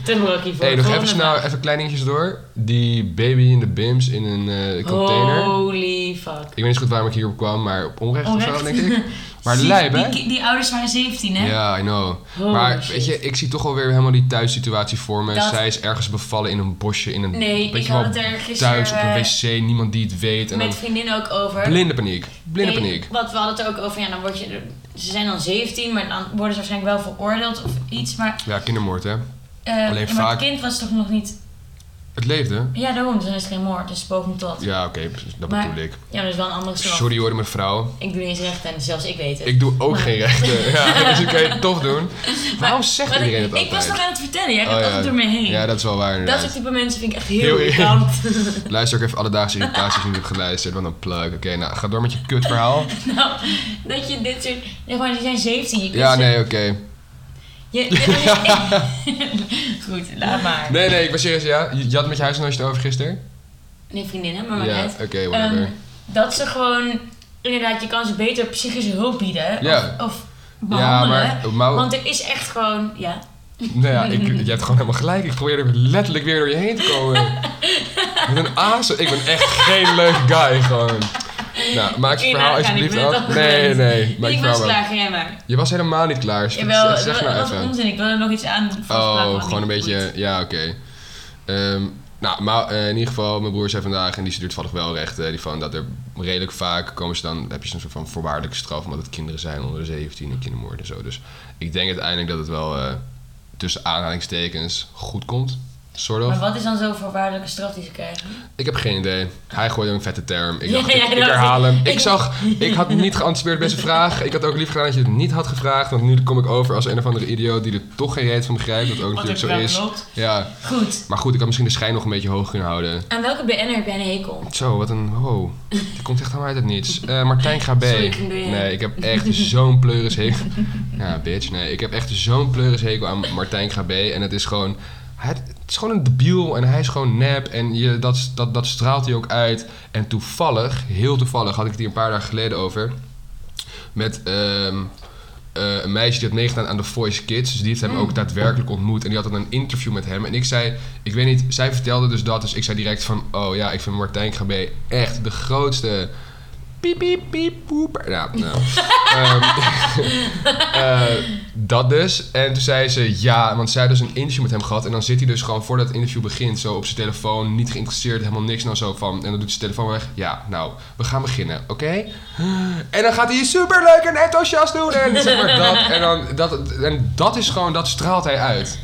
Speaker 3: Te Rocky voor.
Speaker 1: hey,
Speaker 3: de
Speaker 1: nog even
Speaker 3: volgende
Speaker 1: snel,
Speaker 3: vraag.
Speaker 1: even klein dingetjes door. Die baby in de bims in een eh, container.
Speaker 3: Oh. Holy fuck.
Speaker 1: Ik weet niet zo goed waarom ik hierop kwam, maar op onrecht, of zo,
Speaker 3: Onrecht.
Speaker 1: denk ik.
Speaker 3: [laughs]
Speaker 1: Maar
Speaker 3: Zie,
Speaker 1: lijp, hè?
Speaker 3: Die, ki- die ouders waren 17, hè?
Speaker 1: Ja, I know.
Speaker 3: Holy
Speaker 1: maar
Speaker 3: shit.
Speaker 1: weet je, ik zie toch alweer helemaal die thuissituatie voor me.
Speaker 3: Dat-
Speaker 1: Zij is ergens bevallen in een bosje, in een
Speaker 3: Nee,
Speaker 1: weet je
Speaker 3: ik
Speaker 1: wel,
Speaker 3: had het er gisteren
Speaker 1: thuis op een
Speaker 3: eh,
Speaker 1: wc, niemand die het weet. En dan
Speaker 3: met vriendinnen ook over.
Speaker 1: blinde paniek, blinde
Speaker 3: Nee,
Speaker 1: paniek.
Speaker 3: Want we hadden het er ook over, ja, dan word je, er- ze zijn dan 17, maar dan worden ze waarschijnlijk wel veroordeeld of iets. Maar
Speaker 1: Ja, kindermoord hè.
Speaker 3: Eh,
Speaker 1: Alleen
Speaker 3: maar
Speaker 1: vaak-
Speaker 3: het kind was toch nog niet...
Speaker 1: Het leefde.
Speaker 3: Ja, daarom. Dus dan is het geen moord. Dus poging tot. Ja,
Speaker 1: Ja, oké, precies, dat
Speaker 3: Maar-
Speaker 1: bedoel ik.
Speaker 3: maar dat is wel een andere straf.
Speaker 1: Sorry hoor, mevrouw.
Speaker 3: Ik doe niet eens recht en dus zelfs ik weet het.
Speaker 1: Ik doe ook
Speaker 3: Maar-
Speaker 1: geen
Speaker 3: [laughs]
Speaker 1: rechten. Ja, dus ik kan je toch doen. Waarom zegt
Speaker 3: Maar ik-
Speaker 1: iedereen het
Speaker 3: Ik was
Speaker 1: altijd?
Speaker 3: nog aan het vertellen. Jij
Speaker 1: Oh,
Speaker 3: gaat
Speaker 1: ja.
Speaker 3: altijd door me heen.
Speaker 1: Ja, dat is wel waar
Speaker 3: dat
Speaker 1: inderdaad.
Speaker 3: soort type mensen vind ik echt
Speaker 1: Heel
Speaker 3: heel irritant.
Speaker 1: Luister ook even alledaagse irritaties die je hebt geluisterd. Wat een plug. Oké, nou, ga door met je
Speaker 3: [laughs]
Speaker 1: kutverhaal.
Speaker 3: [laughs] nou, dat je dit soort... Ja, maar die zijn 17. Je kunt
Speaker 1: Ja,
Speaker 3: ze-
Speaker 1: nee, oké.
Speaker 3: Je,
Speaker 1: [laughs]
Speaker 3: je- [laughs] Goed, laat maar.
Speaker 1: Nee, nee, ik was serieus, ja. Je, je had met je huisgenootje het over gisteren?
Speaker 3: Nee, vriendinnen, maar maar
Speaker 1: Ja,
Speaker 3: net.
Speaker 1: oké, whatever.
Speaker 3: Oh, Ehm, dat ze gewoon... Inderdaad, je kan ze beter psychische hulp bieden.
Speaker 1: Ja.
Speaker 3: Of, of
Speaker 1: ja,
Speaker 3: behandelen.
Speaker 1: maar... Oh. maar
Speaker 3: Want er is echt gewoon... Ja,
Speaker 1: nou ja, ik, je hebt gewoon helemaal gelijk. Ik probeer er letterlijk weer door je heen te
Speaker 3: [laughs]
Speaker 1: komen. Met een aas. Ik ben echt geen leuk guy, gewoon. Nou, maak je
Speaker 3: Kun je
Speaker 1: verhaal
Speaker 3: nagaan, ik
Speaker 1: alsjeblieft
Speaker 3: ben het
Speaker 1: af.
Speaker 3: al
Speaker 1: Nee,
Speaker 3: gewend.
Speaker 1: nee, maak je
Speaker 3: ik was
Speaker 1: verhaal af.
Speaker 3: klaar, ga jij maar.
Speaker 1: Je was helemaal niet klaar. dus
Speaker 3: Jawel,
Speaker 1: zeg-
Speaker 3: dat
Speaker 1: zeg nou
Speaker 3: dat was
Speaker 1: even.
Speaker 3: onzin. Ik wilde er nog iets aan vastplakken,
Speaker 1: Oh,
Speaker 3: maar
Speaker 1: gewoon een
Speaker 3: niet
Speaker 1: beetje.
Speaker 3: goed.
Speaker 1: Ja, oké. Ehm, nou, maar eh, in ieder geval, mijn broer zei vandaag, en die studeert toevallig wel recht, eh, die van dat er redelijk vaak komen ze dan, heb je zo'n soort van voorwaardelijke straf, omdat het kinderen zijn onder de 17 en kindermoord en zo. Dus ik denk uiteindelijk dat het wel eh, tussen aanhalingstekens goed komt. Sort
Speaker 3: Maar
Speaker 1: of.
Speaker 3: wat is dan zo'n voorwaardelijke straf die ze krijgen?
Speaker 1: Ik heb geen idee. Hij gooide een vette term. Ik
Speaker 3: [laughs] Ja,
Speaker 1: dacht,
Speaker 3: jij
Speaker 1: ik, ik
Speaker 3: dacht-
Speaker 1: herhaal hem. Ik
Speaker 3: ik-
Speaker 1: zag, ik had niet geanticipeerd bij zijn vraag. Ik had ook lief gedaan dat je het niet had gevraagd, want nu kom ik over als een of andere idioot die er toch geen reet van begrijpt, wat ook
Speaker 3: Wat
Speaker 1: natuurlijk
Speaker 3: er
Speaker 1: zo
Speaker 3: wel
Speaker 1: is.
Speaker 3: loopt.
Speaker 1: Ja.
Speaker 3: Goed.
Speaker 1: Maar goed, ik had misschien de schijn nog een beetje hoog kunnen houden.
Speaker 3: Aan welke BN'er heb jij een hekel?
Speaker 1: Zo, wat een... Wow. Die komt echt helemaal uit het niets. Eh, Martijn Grabé.
Speaker 3: Sorry, ik ging door je heen.
Speaker 1: nee, ik heb echt zo'n pleurishekel... Ja, bitch. Nee, ik heb echt zo'n pleurishekel aan Martijn Grabé. En het is gewoon... hij- Het is gewoon een debiel en hij is gewoon nep en je, dat, dat, dat straalt hij ook uit. En toevallig, heel toevallig, had ik het hier een paar dagen geleden over. Met ehm, eh, een meisje die had meegedaan aan The Voice Kids. Dus die heeft hem ook daadwerkelijk ontmoet. En die had dan een interview met hem. En ik zei, ik weet niet, zij vertelde dus dat. Dus ik zei direct van, oh ja, ik vind Martijn Grabé echt de grootste... Piep, piep, piep, poep. Nou, nou. Ehm, [laughs] eh, dat dus. En toen zei ze ja, want zij had dus een interview met hem gehad. En dan zit hij dus gewoon voordat het interview begint, zo op zijn telefoon, niet geïnteresseerd, helemaal niks. En dan zo van, en dan doet zijn telefoon weg. Ja, nou, we gaan beginnen, oké? [gasps] En dan gaat hij superleuk en enthousiast doen. En zeg maar dat. En, dan, dat, en dat is gewoon, dat straalt hij uit.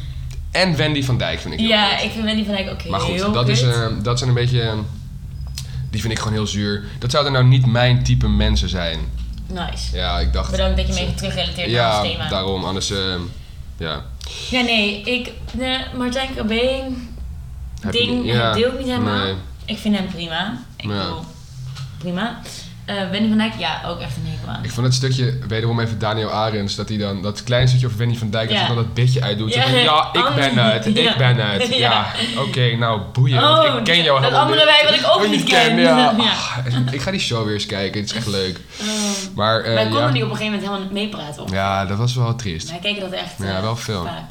Speaker 1: En Wendy van Dijk vind ik heel
Speaker 3: Ja,
Speaker 1: goed.
Speaker 3: ik vind Wendy van Dijk ook heel
Speaker 1: Maar goed, dat, is,
Speaker 3: kut.
Speaker 1: eh, dat zijn een beetje... eh, Die vind ik gewoon heel zuur. Dat zouden nou niet mijn type mensen zijn.
Speaker 3: Nice.
Speaker 1: Ja, ik dacht...
Speaker 3: Bedankt dat je me even terugrelateert naar
Speaker 1: Ja,
Speaker 3: ons thema.
Speaker 1: daarom. Anders, eh, ja.
Speaker 3: Ja, nee, ik... eh, Martijn Krabbe,
Speaker 1: Heb je
Speaker 3: ding,
Speaker 1: niet- ja,
Speaker 3: deel ik niet helemaal.
Speaker 1: nee.
Speaker 3: Ik vind hem prima. Ik
Speaker 1: Ja.
Speaker 3: bedoel, prima. Eh Wendy van Dijk, ja, ook echt een hekel aan.
Speaker 1: Ik vond het stukje, wederom even Daniel Arends, dat hij dan, dat klein stukje over Wendy van Dijk, dat
Speaker 3: Ja.
Speaker 1: hij dan dat bitje uitdoet. Ja,
Speaker 3: Ja.
Speaker 1: ja ik ben
Speaker 3: Ander-
Speaker 1: het, ik
Speaker 3: Ja.
Speaker 1: ben het. Ja,
Speaker 3: [laughs] Ja. Oh,
Speaker 1: oké, nou boeien, want ik ken jou
Speaker 3: dat
Speaker 1: helemaal
Speaker 3: andere
Speaker 1: niet.
Speaker 3: wij wat ik ook niet ken.
Speaker 1: Ja.
Speaker 3: [laughs] Ja. Oh.
Speaker 1: Ah, ik ga die show weer eens kijken, het is echt leuk. Maar, eh,
Speaker 3: Wij konden
Speaker 1: ja.
Speaker 3: die op een gegeven moment helemaal niet meepraten. Op.
Speaker 1: ja, dat was wel triest.
Speaker 3: Wij keken dat echt
Speaker 1: Ja,
Speaker 3: eh,
Speaker 1: wel veel.
Speaker 3: vaak.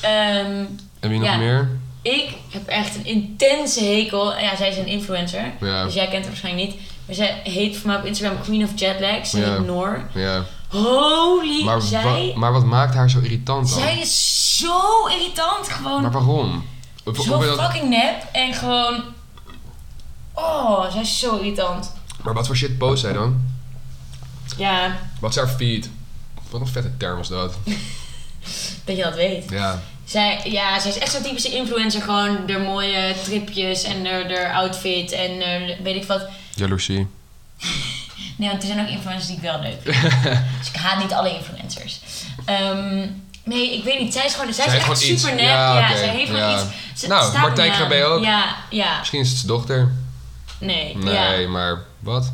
Speaker 3: Ehm,
Speaker 1: En wie nog
Speaker 3: Ja.
Speaker 1: meer?
Speaker 3: ik heb echt een intense hekel. Ja, zij is een influencer.
Speaker 1: Ja.
Speaker 3: Dus jij kent haar waarschijnlijk niet. Maar zij heet voor mij op Instagram Queen of Jetlag. Ze
Speaker 1: Ja.
Speaker 3: heet Noor.
Speaker 1: Ja.
Speaker 3: Holy,
Speaker 1: Maar,
Speaker 3: zij,
Speaker 1: wa- maar wat maakt haar zo irritant dan?
Speaker 3: zij is zo irritant. Gewoon
Speaker 1: Maar waarom? Of- of-
Speaker 3: zo
Speaker 1: of- dat-
Speaker 3: fucking nep. En gewoon... Oh, zij is zo irritant.
Speaker 1: Maar wat voor shit post zij dan?
Speaker 3: Ja,
Speaker 1: Wat is haar feed? Wat een vette term was
Speaker 3: [laughs]
Speaker 1: dat.
Speaker 3: dat je dat weet.
Speaker 1: Ja.
Speaker 3: Zij, ja, zij is echt zo'n typische influencer. Gewoon de mooie tripjes en de, de outfit en de- weet ik wat.
Speaker 1: Jaloezie.
Speaker 3: Nee, want er zijn ook influencers die ik wel leuk vind.
Speaker 1: [laughs]
Speaker 3: dus ik haat niet alle influencers. Ehm, nee, ik weet niet. Zij is gewoon, zij
Speaker 1: Zij
Speaker 3: is
Speaker 1: heeft
Speaker 3: echt
Speaker 1: gewoon iets.
Speaker 3: super net.
Speaker 1: Ja,
Speaker 3: Ja,
Speaker 1: oké,
Speaker 3: zij heeft gewoon
Speaker 1: ja.
Speaker 3: iets. Ze-
Speaker 1: Nou,
Speaker 3: staat
Speaker 1: Martijn
Speaker 3: me aan.
Speaker 1: Krabbe ook.
Speaker 3: Ja, ja.
Speaker 1: Misschien is het zijn dochter.
Speaker 3: Nee,
Speaker 1: Nee,
Speaker 3: ja.
Speaker 1: maar wat?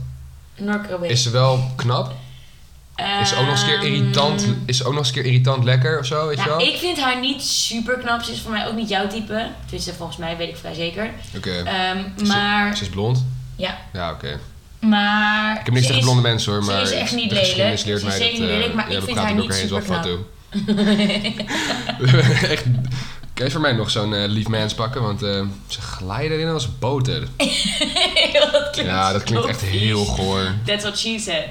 Speaker 3: Noor Krabbe.
Speaker 1: Is ze wel knap? Is ze ook nog eens een keer
Speaker 3: Ehm,
Speaker 1: irritant, is ze ook nog eens een keer irritant lekker of zo, weet je
Speaker 3: Nou,
Speaker 1: wel?
Speaker 3: ik vind haar niet super knap. Ze is voor mij ook niet jouw type. Tenminste, volgens mij weet ik vrij zeker.
Speaker 1: Oké.
Speaker 3: Ehm,
Speaker 1: Ze-
Speaker 3: maar,
Speaker 1: Ze is blond?
Speaker 3: ja.
Speaker 1: Ja, oké.
Speaker 3: Maar.
Speaker 1: Ik heb niks tegen
Speaker 3: [laughs]
Speaker 1: blonde mensen hoor,
Speaker 3: ze
Speaker 1: maar
Speaker 3: is echt niet
Speaker 1: de geschiedenis
Speaker 3: lelijk.
Speaker 1: leert
Speaker 3: Ze
Speaker 1: mij
Speaker 3: is
Speaker 1: dat...
Speaker 3: zeker niet
Speaker 1: eh,
Speaker 3: lelijk, maar
Speaker 1: ja,
Speaker 3: ik
Speaker 1: we
Speaker 3: vind
Speaker 1: praten
Speaker 3: haar
Speaker 1: er
Speaker 3: niet
Speaker 1: doorheen, is wel
Speaker 3: superknap.
Speaker 1: fat,
Speaker 3: [laughs]
Speaker 1: joh. [laughs] echt, kan je voor mij nog zo'n eh, lief mens pakken? Want eh, ze glijden in als boter.
Speaker 3: dat klinkt
Speaker 1: Ja, dat klinkt
Speaker 3: zo
Speaker 1: echt
Speaker 3: vies.
Speaker 1: heel goor.
Speaker 3: That's what she said.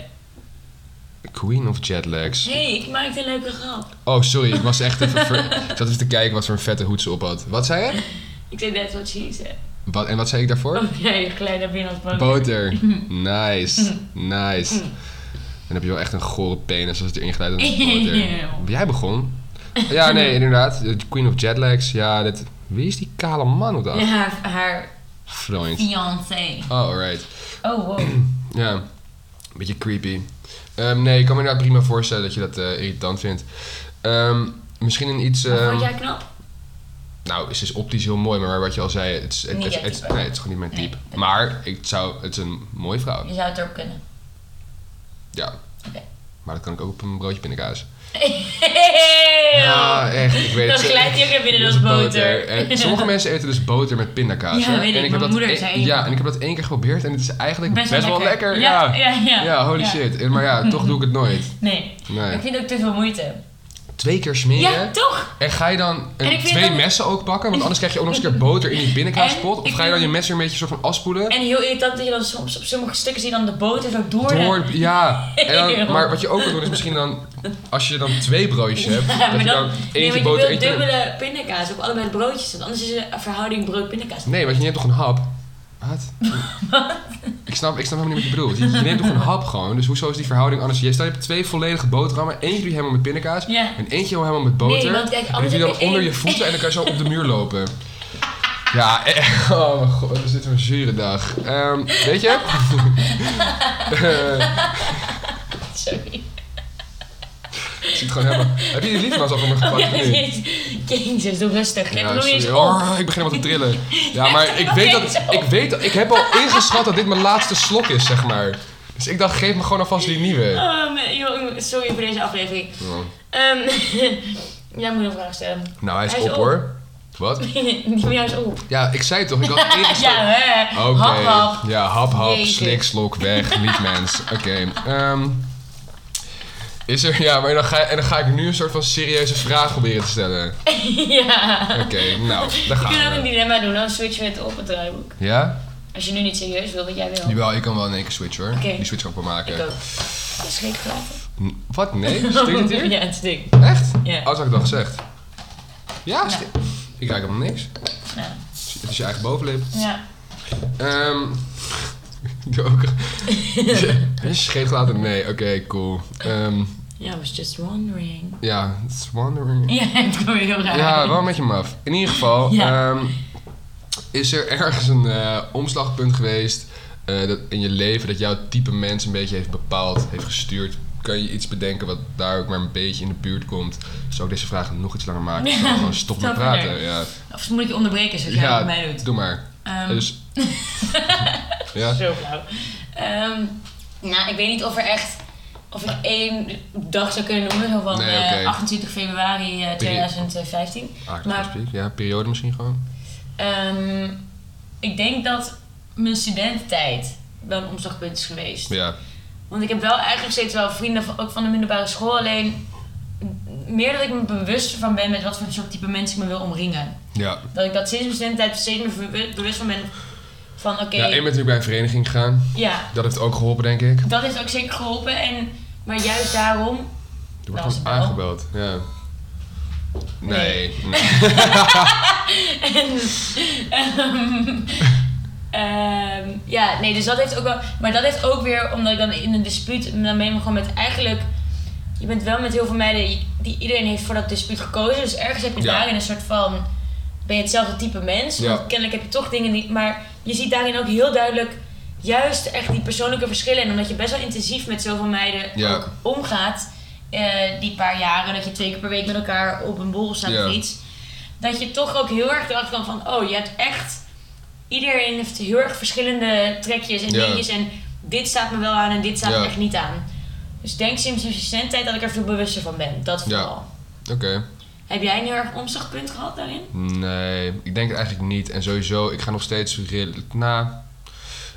Speaker 1: Queen of jetlags.
Speaker 3: hey, ik maakte een leuke grap.
Speaker 1: Oh, sorry, ik was echt even... ver-
Speaker 3: [laughs]
Speaker 1: Ik zat even te kijken wat voor een vette hoed ze op had. Wat zei je?
Speaker 3: Ik zei that's what she said.
Speaker 1: Wat, en wat zei ik daarvoor?
Speaker 3: Oh nee, glijdt naar binnen als boter.
Speaker 2: [laughs]
Speaker 1: Boter.
Speaker 2: Mhm.
Speaker 1: Nice.
Speaker 2: [laughs]
Speaker 1: Nice. Dan heb je wel echt een gore penis als het erin glijdt. Dan is het boter.
Speaker 3: Eeuw.
Speaker 1: Jij begon. Ja, nee, inderdaad. De Queen of Jetlags. Ja, dit... Wie is die kale man op de
Speaker 3: Ja,
Speaker 1: af?
Speaker 3: haar, haar
Speaker 1: Vriend.
Speaker 2: Fiancé.
Speaker 1: Oh, alright.
Speaker 2: Oh,
Speaker 1: [clears throat]
Speaker 2: wow.
Speaker 1: Ja, een beetje creepy. Ehm, nee, ik kan me inderdaad prima voorstellen dat je dat eh, irritant vindt. Ehm, misschien een iets...
Speaker 3: Wat
Speaker 1: ehm,
Speaker 3: vond jij knap?
Speaker 1: Nou, ze is optisch heel mooi, maar wat je al zei, het is, het,
Speaker 2: Niet
Speaker 1: het,
Speaker 2: jouw
Speaker 1: het-
Speaker 2: type.
Speaker 1: nee, het is gewoon niet mijn
Speaker 2: Nee,
Speaker 1: type.
Speaker 2: dat-
Speaker 1: Maar ik zou, het is een mooie vrouw.
Speaker 2: Je zou het erop kunnen.
Speaker 1: Ja.
Speaker 2: Oké.
Speaker 1: Maar dat kan ik ook op een broodje pindakaas.
Speaker 2: Heel.
Speaker 1: [laughs] Ja, echt. Ik weet
Speaker 3: Dat
Speaker 1: het.
Speaker 3: glijdt hier weer binnen
Speaker 1: Dat
Speaker 3: als
Speaker 1: is
Speaker 3: boter. [laughs]
Speaker 1: En sommige mensen eten dus boter met pindakaas.
Speaker 3: Ja,
Speaker 1: hoor.
Speaker 3: weet ik.
Speaker 1: En ik
Speaker 3: Mijn
Speaker 1: heb
Speaker 3: moeder
Speaker 1: dat
Speaker 3: zei
Speaker 1: één-
Speaker 3: één
Speaker 1: Ja,
Speaker 3: keer.
Speaker 1: en ik heb dat één keer geprobeeld en het is eigenlijk best, wel lekker.
Speaker 3: Ja,
Speaker 1: ja.
Speaker 3: ja, ja.
Speaker 1: holy
Speaker 2: Ja.
Speaker 1: shit. En- Maar
Speaker 3: [laughs]
Speaker 1: ja, toch doe ik het nooit.
Speaker 2: Nee.
Speaker 1: Nee.
Speaker 2: Ik vind ook te veel moeite.
Speaker 1: Twee keer smeren.
Speaker 3: Ja, toch?
Speaker 1: En ga je dan een-
Speaker 3: En ik vind
Speaker 1: twee
Speaker 3: dat-
Speaker 1: messen ook pakken? Want anders krijg je ook nog eens een keer boter in die pindakaaspot.
Speaker 3: [laughs] En
Speaker 1: Of
Speaker 3: ik
Speaker 1: ga je dan je
Speaker 3: vind-
Speaker 1: mes weer een beetje soort van afspoelen?
Speaker 2: En heel irritant dat je dan soms op sommige stukken zie je dan de boter zo door. de- [laughs]
Speaker 1: Door, ja. En
Speaker 3: [laughs]
Speaker 1: dan, maar wat je ook kan doen is misschien dan, als je dan twee broodjes
Speaker 3: [laughs]
Speaker 1: hebt, dat
Speaker 3: Ja, maar
Speaker 1: je
Speaker 3: dan,
Speaker 1: dan
Speaker 3: nee,
Speaker 1: eentje
Speaker 3: want
Speaker 1: boter,
Speaker 3: je wilt
Speaker 1: eentje...
Speaker 3: dubbele pindakaas op allebei de broodjes. Want anders is de verhouding brood-pindakaas.
Speaker 1: Nee, want je neemt toch een hap?
Speaker 3: [laughs]
Speaker 1: Wat? Ik snap, ik snap helemaal niet wat je bedoelt. Je, je neemt toch een hap gewoon, dus hoezo is die verhouding anders? Je, stel, je hebt twee volledige boterhammen, eentje doe je helemaal met pindakaas
Speaker 3: Ja.
Speaker 1: en eentje helemaal met boter.
Speaker 3: Nee, want
Speaker 1: en
Speaker 3: kijk,
Speaker 1: die
Speaker 3: anders
Speaker 1: doe je
Speaker 3: heb
Speaker 1: dan
Speaker 3: je
Speaker 1: onder
Speaker 3: één-
Speaker 1: je voeten en dan kan je zo op de
Speaker 3: [laughs]
Speaker 1: muur lopen. Ja, eh, [laughs] oh mijn god, is dit een zure dag. Ehm, weet
Speaker 3: [laughs]
Speaker 1: je? Eh,
Speaker 2: Sorry.
Speaker 1: ik zit gewoon helemaal... Heb je die lied maar zo van me
Speaker 2: [laughs]
Speaker 1: gepakt? of niet?
Speaker 2: Oh, Jezus, doe rustig. Ja,
Speaker 1: Ja,
Speaker 2: je eens
Speaker 1: sorry.
Speaker 2: op.
Speaker 1: Oh, ik begin helemaal te
Speaker 3: [laughs]
Speaker 1: trillen. Ja, maar ik weet dat... Ik, weet dat, ik heb al ingeschat dat dit mijn laatste slok is, zeg maar. Dus ik dacht, geef me gewoon alvast die nieuwe.
Speaker 3: Ehm, joh, sorry voor deze aflevering.
Speaker 1: Oh.
Speaker 3: Ehm, [laughs] jij moet een vraag stellen. [laughs]
Speaker 1: Nou, hij is,
Speaker 3: Hij
Speaker 1: op, hoor. Wat?
Speaker 3: Die van jou is op.
Speaker 1: Ja, ik zei het toch, ik had ingeschat...
Speaker 3: [laughs] Ja, hè.
Speaker 1: Oké.
Speaker 3: Hap, hap.
Speaker 1: Ja, hap, hap,
Speaker 3: Jeetje.
Speaker 1: slik, slok, weg, lief mens. Oké. ehm, is er... Ja, maar dan ga, en dan ga ik nu een soort van serieuze vraag proberen te stellen.
Speaker 3: [laughs] ja.
Speaker 1: Oké, nou,
Speaker 3: [laughs]
Speaker 1: daar
Speaker 3: Je kunt
Speaker 1: gaan
Speaker 3: ook een
Speaker 1: we.
Speaker 3: dilemma doen, dan switchen we het op het draaiboek.
Speaker 1: Ja?
Speaker 3: Als je nu niet serieus wil, wat jij wil.
Speaker 1: Jawel, je kan wel in één keer switchen, hoor.
Speaker 3: Oké.
Speaker 1: Die switch kan ik wel
Speaker 3: Ik
Speaker 1: maken.
Speaker 3: ook. Dat is gek praten.
Speaker 1: N- Wat? Nee? Stinkt het hier?
Speaker 3: [laughs] Ja, het stinkt.
Speaker 1: Echt?
Speaker 3: Ja.
Speaker 1: Als had ik dat gezegd. Ja, sti- ik ruik helemaal niks.
Speaker 2: Nou,
Speaker 1: Het is je eigen bovenlip.
Speaker 2: ja.
Speaker 1: Ehm. [laughs] doe ook. Heb je scheet gelaten? Nee, oké, cool. Ehm,
Speaker 3: Ja, I was just wondering. [laughs]
Speaker 1: ja, it's wandering.
Speaker 2: Ja, ik kom heel raar.
Speaker 1: Ja, wel een beetje maf. In ieder geval,
Speaker 2: Ja.
Speaker 1: ehm, is er ergens een eh, omslagpunt geweest eh, dat in je leven dat jouw type mens een beetje heeft bepaald, heeft gestuurd? Kan je iets bedenken wat daar ook maar een beetje in de buurt komt? Zou ik deze vraag nog iets langer maken? Ik zal
Speaker 2: Ja,
Speaker 1: gewoon stop met
Speaker 2: stop verder.
Speaker 1: praten. Ja.
Speaker 2: Of moet ik je onderbreken zoals jij
Speaker 1: Ja,
Speaker 2: met Dus mij doet?
Speaker 1: doe maar.
Speaker 2: Ehm, [laughs]
Speaker 1: Dus, ja. ah,
Speaker 3: Zo flauw.
Speaker 2: Ehm, nou, ik weet niet of er echt. Of ik één dag zou kunnen noemen, zo van
Speaker 1: Nee,
Speaker 2: eh,
Speaker 1: oké.
Speaker 2: 28 februari eh, 2015.
Speaker 1: Aardig
Speaker 2: Maar-
Speaker 1: gesprek. Ja, periode misschien gewoon.
Speaker 2: Ehm, ik denk dat mijn studententijd wel een omslagpunt is geweest.
Speaker 1: Ja,
Speaker 3: Want ik heb wel eigenlijk steeds wel vrienden, van- ook van de middelbare school. Alleen meer dat ik me bewust van ben met wat voor soort type mensen ik me wil omringen.
Speaker 1: ja.
Speaker 3: Dat ik dat sinds mijn studententijd steeds meer verwe- bewust van ben van oké,
Speaker 1: Ja, en ben natuurlijk bij een vereniging gegaan.
Speaker 3: ja,
Speaker 1: Dat heeft ook geholpen, denk ik.
Speaker 3: dat heeft ook zeker geholpen. En, maar juist daarom
Speaker 1: Er wordt
Speaker 2: was
Speaker 1: gewoon
Speaker 2: het wel.
Speaker 1: aangebeld. Ja. Nee. nee. [laughs]
Speaker 3: En, ehm, ehm, ja, nee, dus dat heeft ook wel. Maar dat heeft ook weer, omdat ik dan in een dispuut. Dan ben je gewoon met eigenlijk. Je bent wel met heel veel meiden die- die iedereen heeft voor dat dispuut gekozen. Dus ergens heb je
Speaker 1: Ja.
Speaker 3: daarin een soort van. Ben je hetzelfde type mens?
Speaker 1: Ja.
Speaker 3: Want kennelijk heb je toch dingen niet. Maar je ziet daarin ook heel duidelijk. Juist echt die persoonlijke verschillen. En omdat je best wel intensief met zoveel meiden
Speaker 1: Ja.
Speaker 3: ook omgaat. eh, die paar jaren. Dat je twee keer per week met elkaar op een borrel staat
Speaker 1: Ja.
Speaker 3: of iets dat je toch ook heel erg erachter kan van... oh, je hebt echt... iedereen heeft heel erg verschillende trekjes en
Speaker 1: Ja.
Speaker 3: dingetjes... en dit staat me wel aan en dit staat
Speaker 1: Ja.
Speaker 3: me echt niet aan. Dus ik denk sinds mijn studententijd dat ik er veel bewuster van ben. Dat
Speaker 1: Ja.
Speaker 3: vooral.
Speaker 1: Oké.
Speaker 3: Heb jij een heel erg omslagpunt gehad daarin?
Speaker 1: Nee, ik denk het eigenlijk niet. En sowieso, ik ga nog steeds rel- na.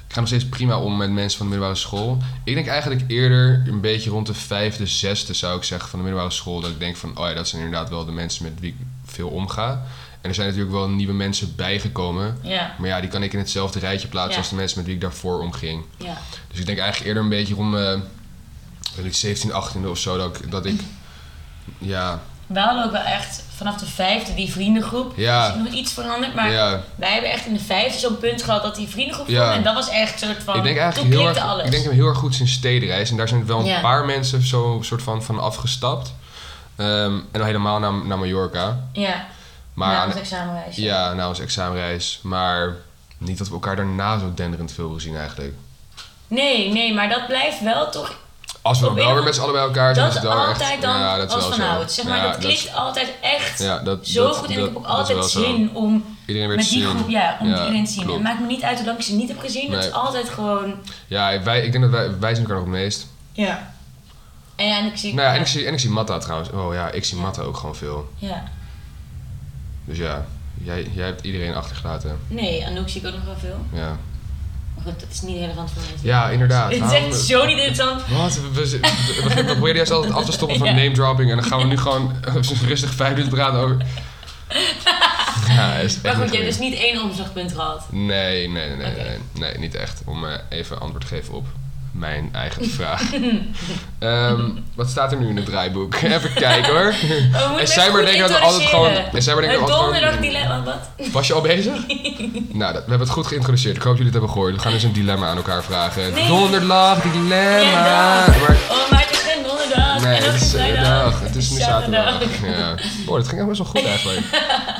Speaker 1: Ik ga nog steeds prima om met mensen van de middelbare school. Ik denk eigenlijk eerder een beetje rond de vijfde, zesde zou ik zeggen van de middelbare school. Dat ik denk van, oh ja, dat zijn inderdaad wel de mensen met wie ik veel omga. En er zijn natuurlijk wel nieuwe mensen bijgekomen.
Speaker 3: Ja.
Speaker 1: Maar ja, die kan ik in hetzelfde rijtje plaatsen
Speaker 3: Ja.
Speaker 1: als de mensen met wie ik daarvoor omging.
Speaker 3: Ja.
Speaker 1: Dus ik denk eigenlijk eerder een beetje rond mijn weet ik, 17, 18 of zo dat ik... Dat ik ja,
Speaker 3: Wij hadden ook wel echt vanaf de vijfde die vriendengroep.
Speaker 1: Ja.
Speaker 3: Er is nog iets veranderd, maar...
Speaker 1: ja.
Speaker 3: Wij hebben echt in de vijfde zo'n punt gehad dat die vriendengroep
Speaker 1: Ja.
Speaker 3: kwam. En dat was echt een soort van...
Speaker 1: Ik denk
Speaker 3: toen
Speaker 1: eigenlijk heel
Speaker 3: klikte
Speaker 1: erg,
Speaker 3: alles.
Speaker 1: ik denk heel erg goed sinds stedenreis. En daar zijn wel een
Speaker 3: Ja.
Speaker 1: paar mensen zo soort van, van afgestapt. Ehm, en al helemaal naar, naar Mallorca.
Speaker 2: Ja,
Speaker 1: Maar
Speaker 2: na
Speaker 1: aan-
Speaker 2: ons examenreis.
Speaker 1: ja, na onze examenreis. Maar niet dat we elkaar daarna zo denderend veel hebben gezien eigenlijk.
Speaker 3: Nee, nee, maar dat blijft wel toch.
Speaker 1: Als we
Speaker 3: Op
Speaker 1: dan wel
Speaker 3: een-
Speaker 1: weer met z'n allen bij elkaar zijn,
Speaker 3: Dat
Speaker 1: is
Speaker 3: is
Speaker 1: het wel
Speaker 3: altijd
Speaker 1: echt,
Speaker 3: dan
Speaker 1: ja, dat is
Speaker 3: als nou,
Speaker 1: wel
Speaker 2: van
Speaker 1: zo.
Speaker 2: oud.
Speaker 3: Zeg maar,
Speaker 1: Ja,
Speaker 3: dat klinkt
Speaker 1: is-
Speaker 3: altijd echt
Speaker 1: ja, dat,
Speaker 3: zo
Speaker 1: dat-
Speaker 3: goed. En ik
Speaker 1: dat-
Speaker 3: heb ook
Speaker 1: dat is
Speaker 3: altijd
Speaker 1: wel zo.
Speaker 3: zin om
Speaker 1: Iedereen weer
Speaker 2: Met
Speaker 1: te
Speaker 2: die
Speaker 1: zien.
Speaker 2: groep, ja, om
Speaker 1: Ja,
Speaker 2: iedereen te zien.
Speaker 1: klopt.
Speaker 2: Het maakt me niet uit hoe lang ik ze niet heb gezien. Het
Speaker 1: Nee.
Speaker 2: is altijd gewoon...
Speaker 1: Ja, wij, ik denk dat wij, wij zien elkaar nog het meest.
Speaker 2: Ja. En ik zie...
Speaker 1: Nou ja, en ik zie, en ik zie Matta trouwens. Oh ja, ik zie Matta ook gewoon veel.
Speaker 2: Ja.
Speaker 1: Dus ja, jij, jij hebt iedereen achtergelaten.
Speaker 3: Nee, Anouk zie ik ook nog wel veel.
Speaker 1: Ja,
Speaker 3: Maar goed, dat is niet relevant voor mensen.
Speaker 1: ja inderdaad.
Speaker 3: Het is
Speaker 1: Waarom-
Speaker 3: echt zo niet interessant.
Speaker 1: Wat? We, we, we- we proberen juist altijd af te stoppen van name dropping. En dan gaan we nu gewoon eh, rustig vijf minuten praten over... Ja, is echt
Speaker 3: Maar
Speaker 1: niet
Speaker 3: goed, je hebt
Speaker 1: goed.
Speaker 3: dus niet één omslagpunt gehad.
Speaker 1: Nee, nee, nee, nee,
Speaker 3: Oké.
Speaker 1: nee, nee, niet echt. Om eh, even antwoord te geven op mijn eigen
Speaker 3: [laughs]
Speaker 1: vraag. Ehm, wat staat er nu in het draaiboek? [laughs] even kijken hoor.
Speaker 3: Oh, We moeten
Speaker 1: En
Speaker 3: best
Speaker 1: zij maar
Speaker 3: goed
Speaker 1: denken dat we altijd gewoon.
Speaker 3: introduceren.
Speaker 1: En zij maar denken
Speaker 3: Het
Speaker 1: dat we altijd
Speaker 3: donderdag
Speaker 1: gewoon-
Speaker 3: dilemma, wat?
Speaker 1: Was je al bezig?
Speaker 3: [laughs]
Speaker 1: nou, dat, we hebben het goed geïntroduceerd. Ik hoop dat jullie het hebben gehoord. We gaan dus een dilemma aan elkaar vragen.
Speaker 3: Nee.
Speaker 1: Donderdag, dilemma.
Speaker 3: Ja,
Speaker 1: Maar,
Speaker 3: Oh, maar het is geen donderdag.
Speaker 1: nee,
Speaker 3: en ook
Speaker 1: het is
Speaker 3: geen
Speaker 1: eh,
Speaker 3: vrijdag.
Speaker 1: dag. Het is nu
Speaker 3: Zaterdag.
Speaker 1: zaterdag. Ja. Oh, dat ging echt best wel goed eigenlijk.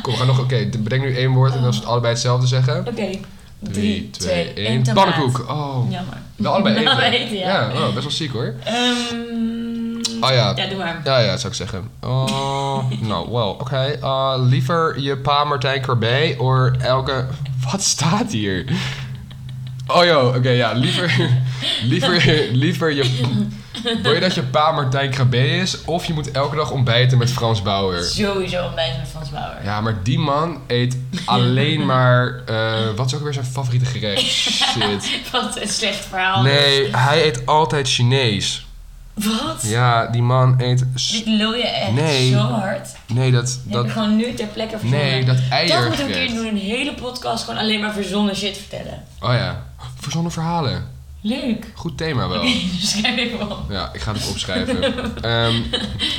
Speaker 1: Kom, we gaan nog. Oké, bedenk nu één woord en als we het allebei hetzelfde zeggen.
Speaker 3: Oké.
Speaker 1: 3, 2, 1.
Speaker 2: één, tomaat.
Speaker 1: Pannenkoek. Oh.
Speaker 2: Jammer.
Speaker 1: Wel allebei eten.
Speaker 3: Allebei eten, ja.
Speaker 1: oh, best wel ziek hoor.
Speaker 3: Ehm,
Speaker 1: Oh ja.
Speaker 3: ja, doe maar.
Speaker 1: Ja, ja, zou ik zeggen. Oh, [laughs] nou, wel, oké. Eh, liever je pa Martijn Corbet of elke... Wat staat hier? Oh joh, oké, ja. Liever, [laughs] liever, liever je... Wil je dat je pa Martijn Corbet is? Of je moet elke dag ontbijten met Frans Bauer?
Speaker 2: Sowieso ontbijt met Frans Bauer.
Speaker 1: Ja, maar die man eet alleen maar... eh, wat is ook weer zijn favoriete gerecht? Shit.
Speaker 3: [laughs] Wat een slecht verhaal.
Speaker 1: Nee, hij eet altijd Chinees.
Speaker 3: Wat?
Speaker 1: Ja, die man eet... s-
Speaker 2: Dit lul je echt
Speaker 1: Nee.
Speaker 2: zo hard.
Speaker 1: Nee, dat...
Speaker 2: Dat
Speaker 1: dat
Speaker 2: heb je gewoon nu ter plekke verzonnen.
Speaker 1: nee, dat
Speaker 3: Dat moeten we een
Speaker 1: eiergerecht.
Speaker 3: keer doen. Een hele podcast gewoon alleen maar verzonnen shit vertellen.
Speaker 1: Oh ja, verzonnen verhalen.
Speaker 3: Leuk.
Speaker 1: Goed thema
Speaker 3: [laughs]
Speaker 1: wel.
Speaker 3: Schrijf even op.
Speaker 1: Ja, ik ga het opschrijven. Ehm,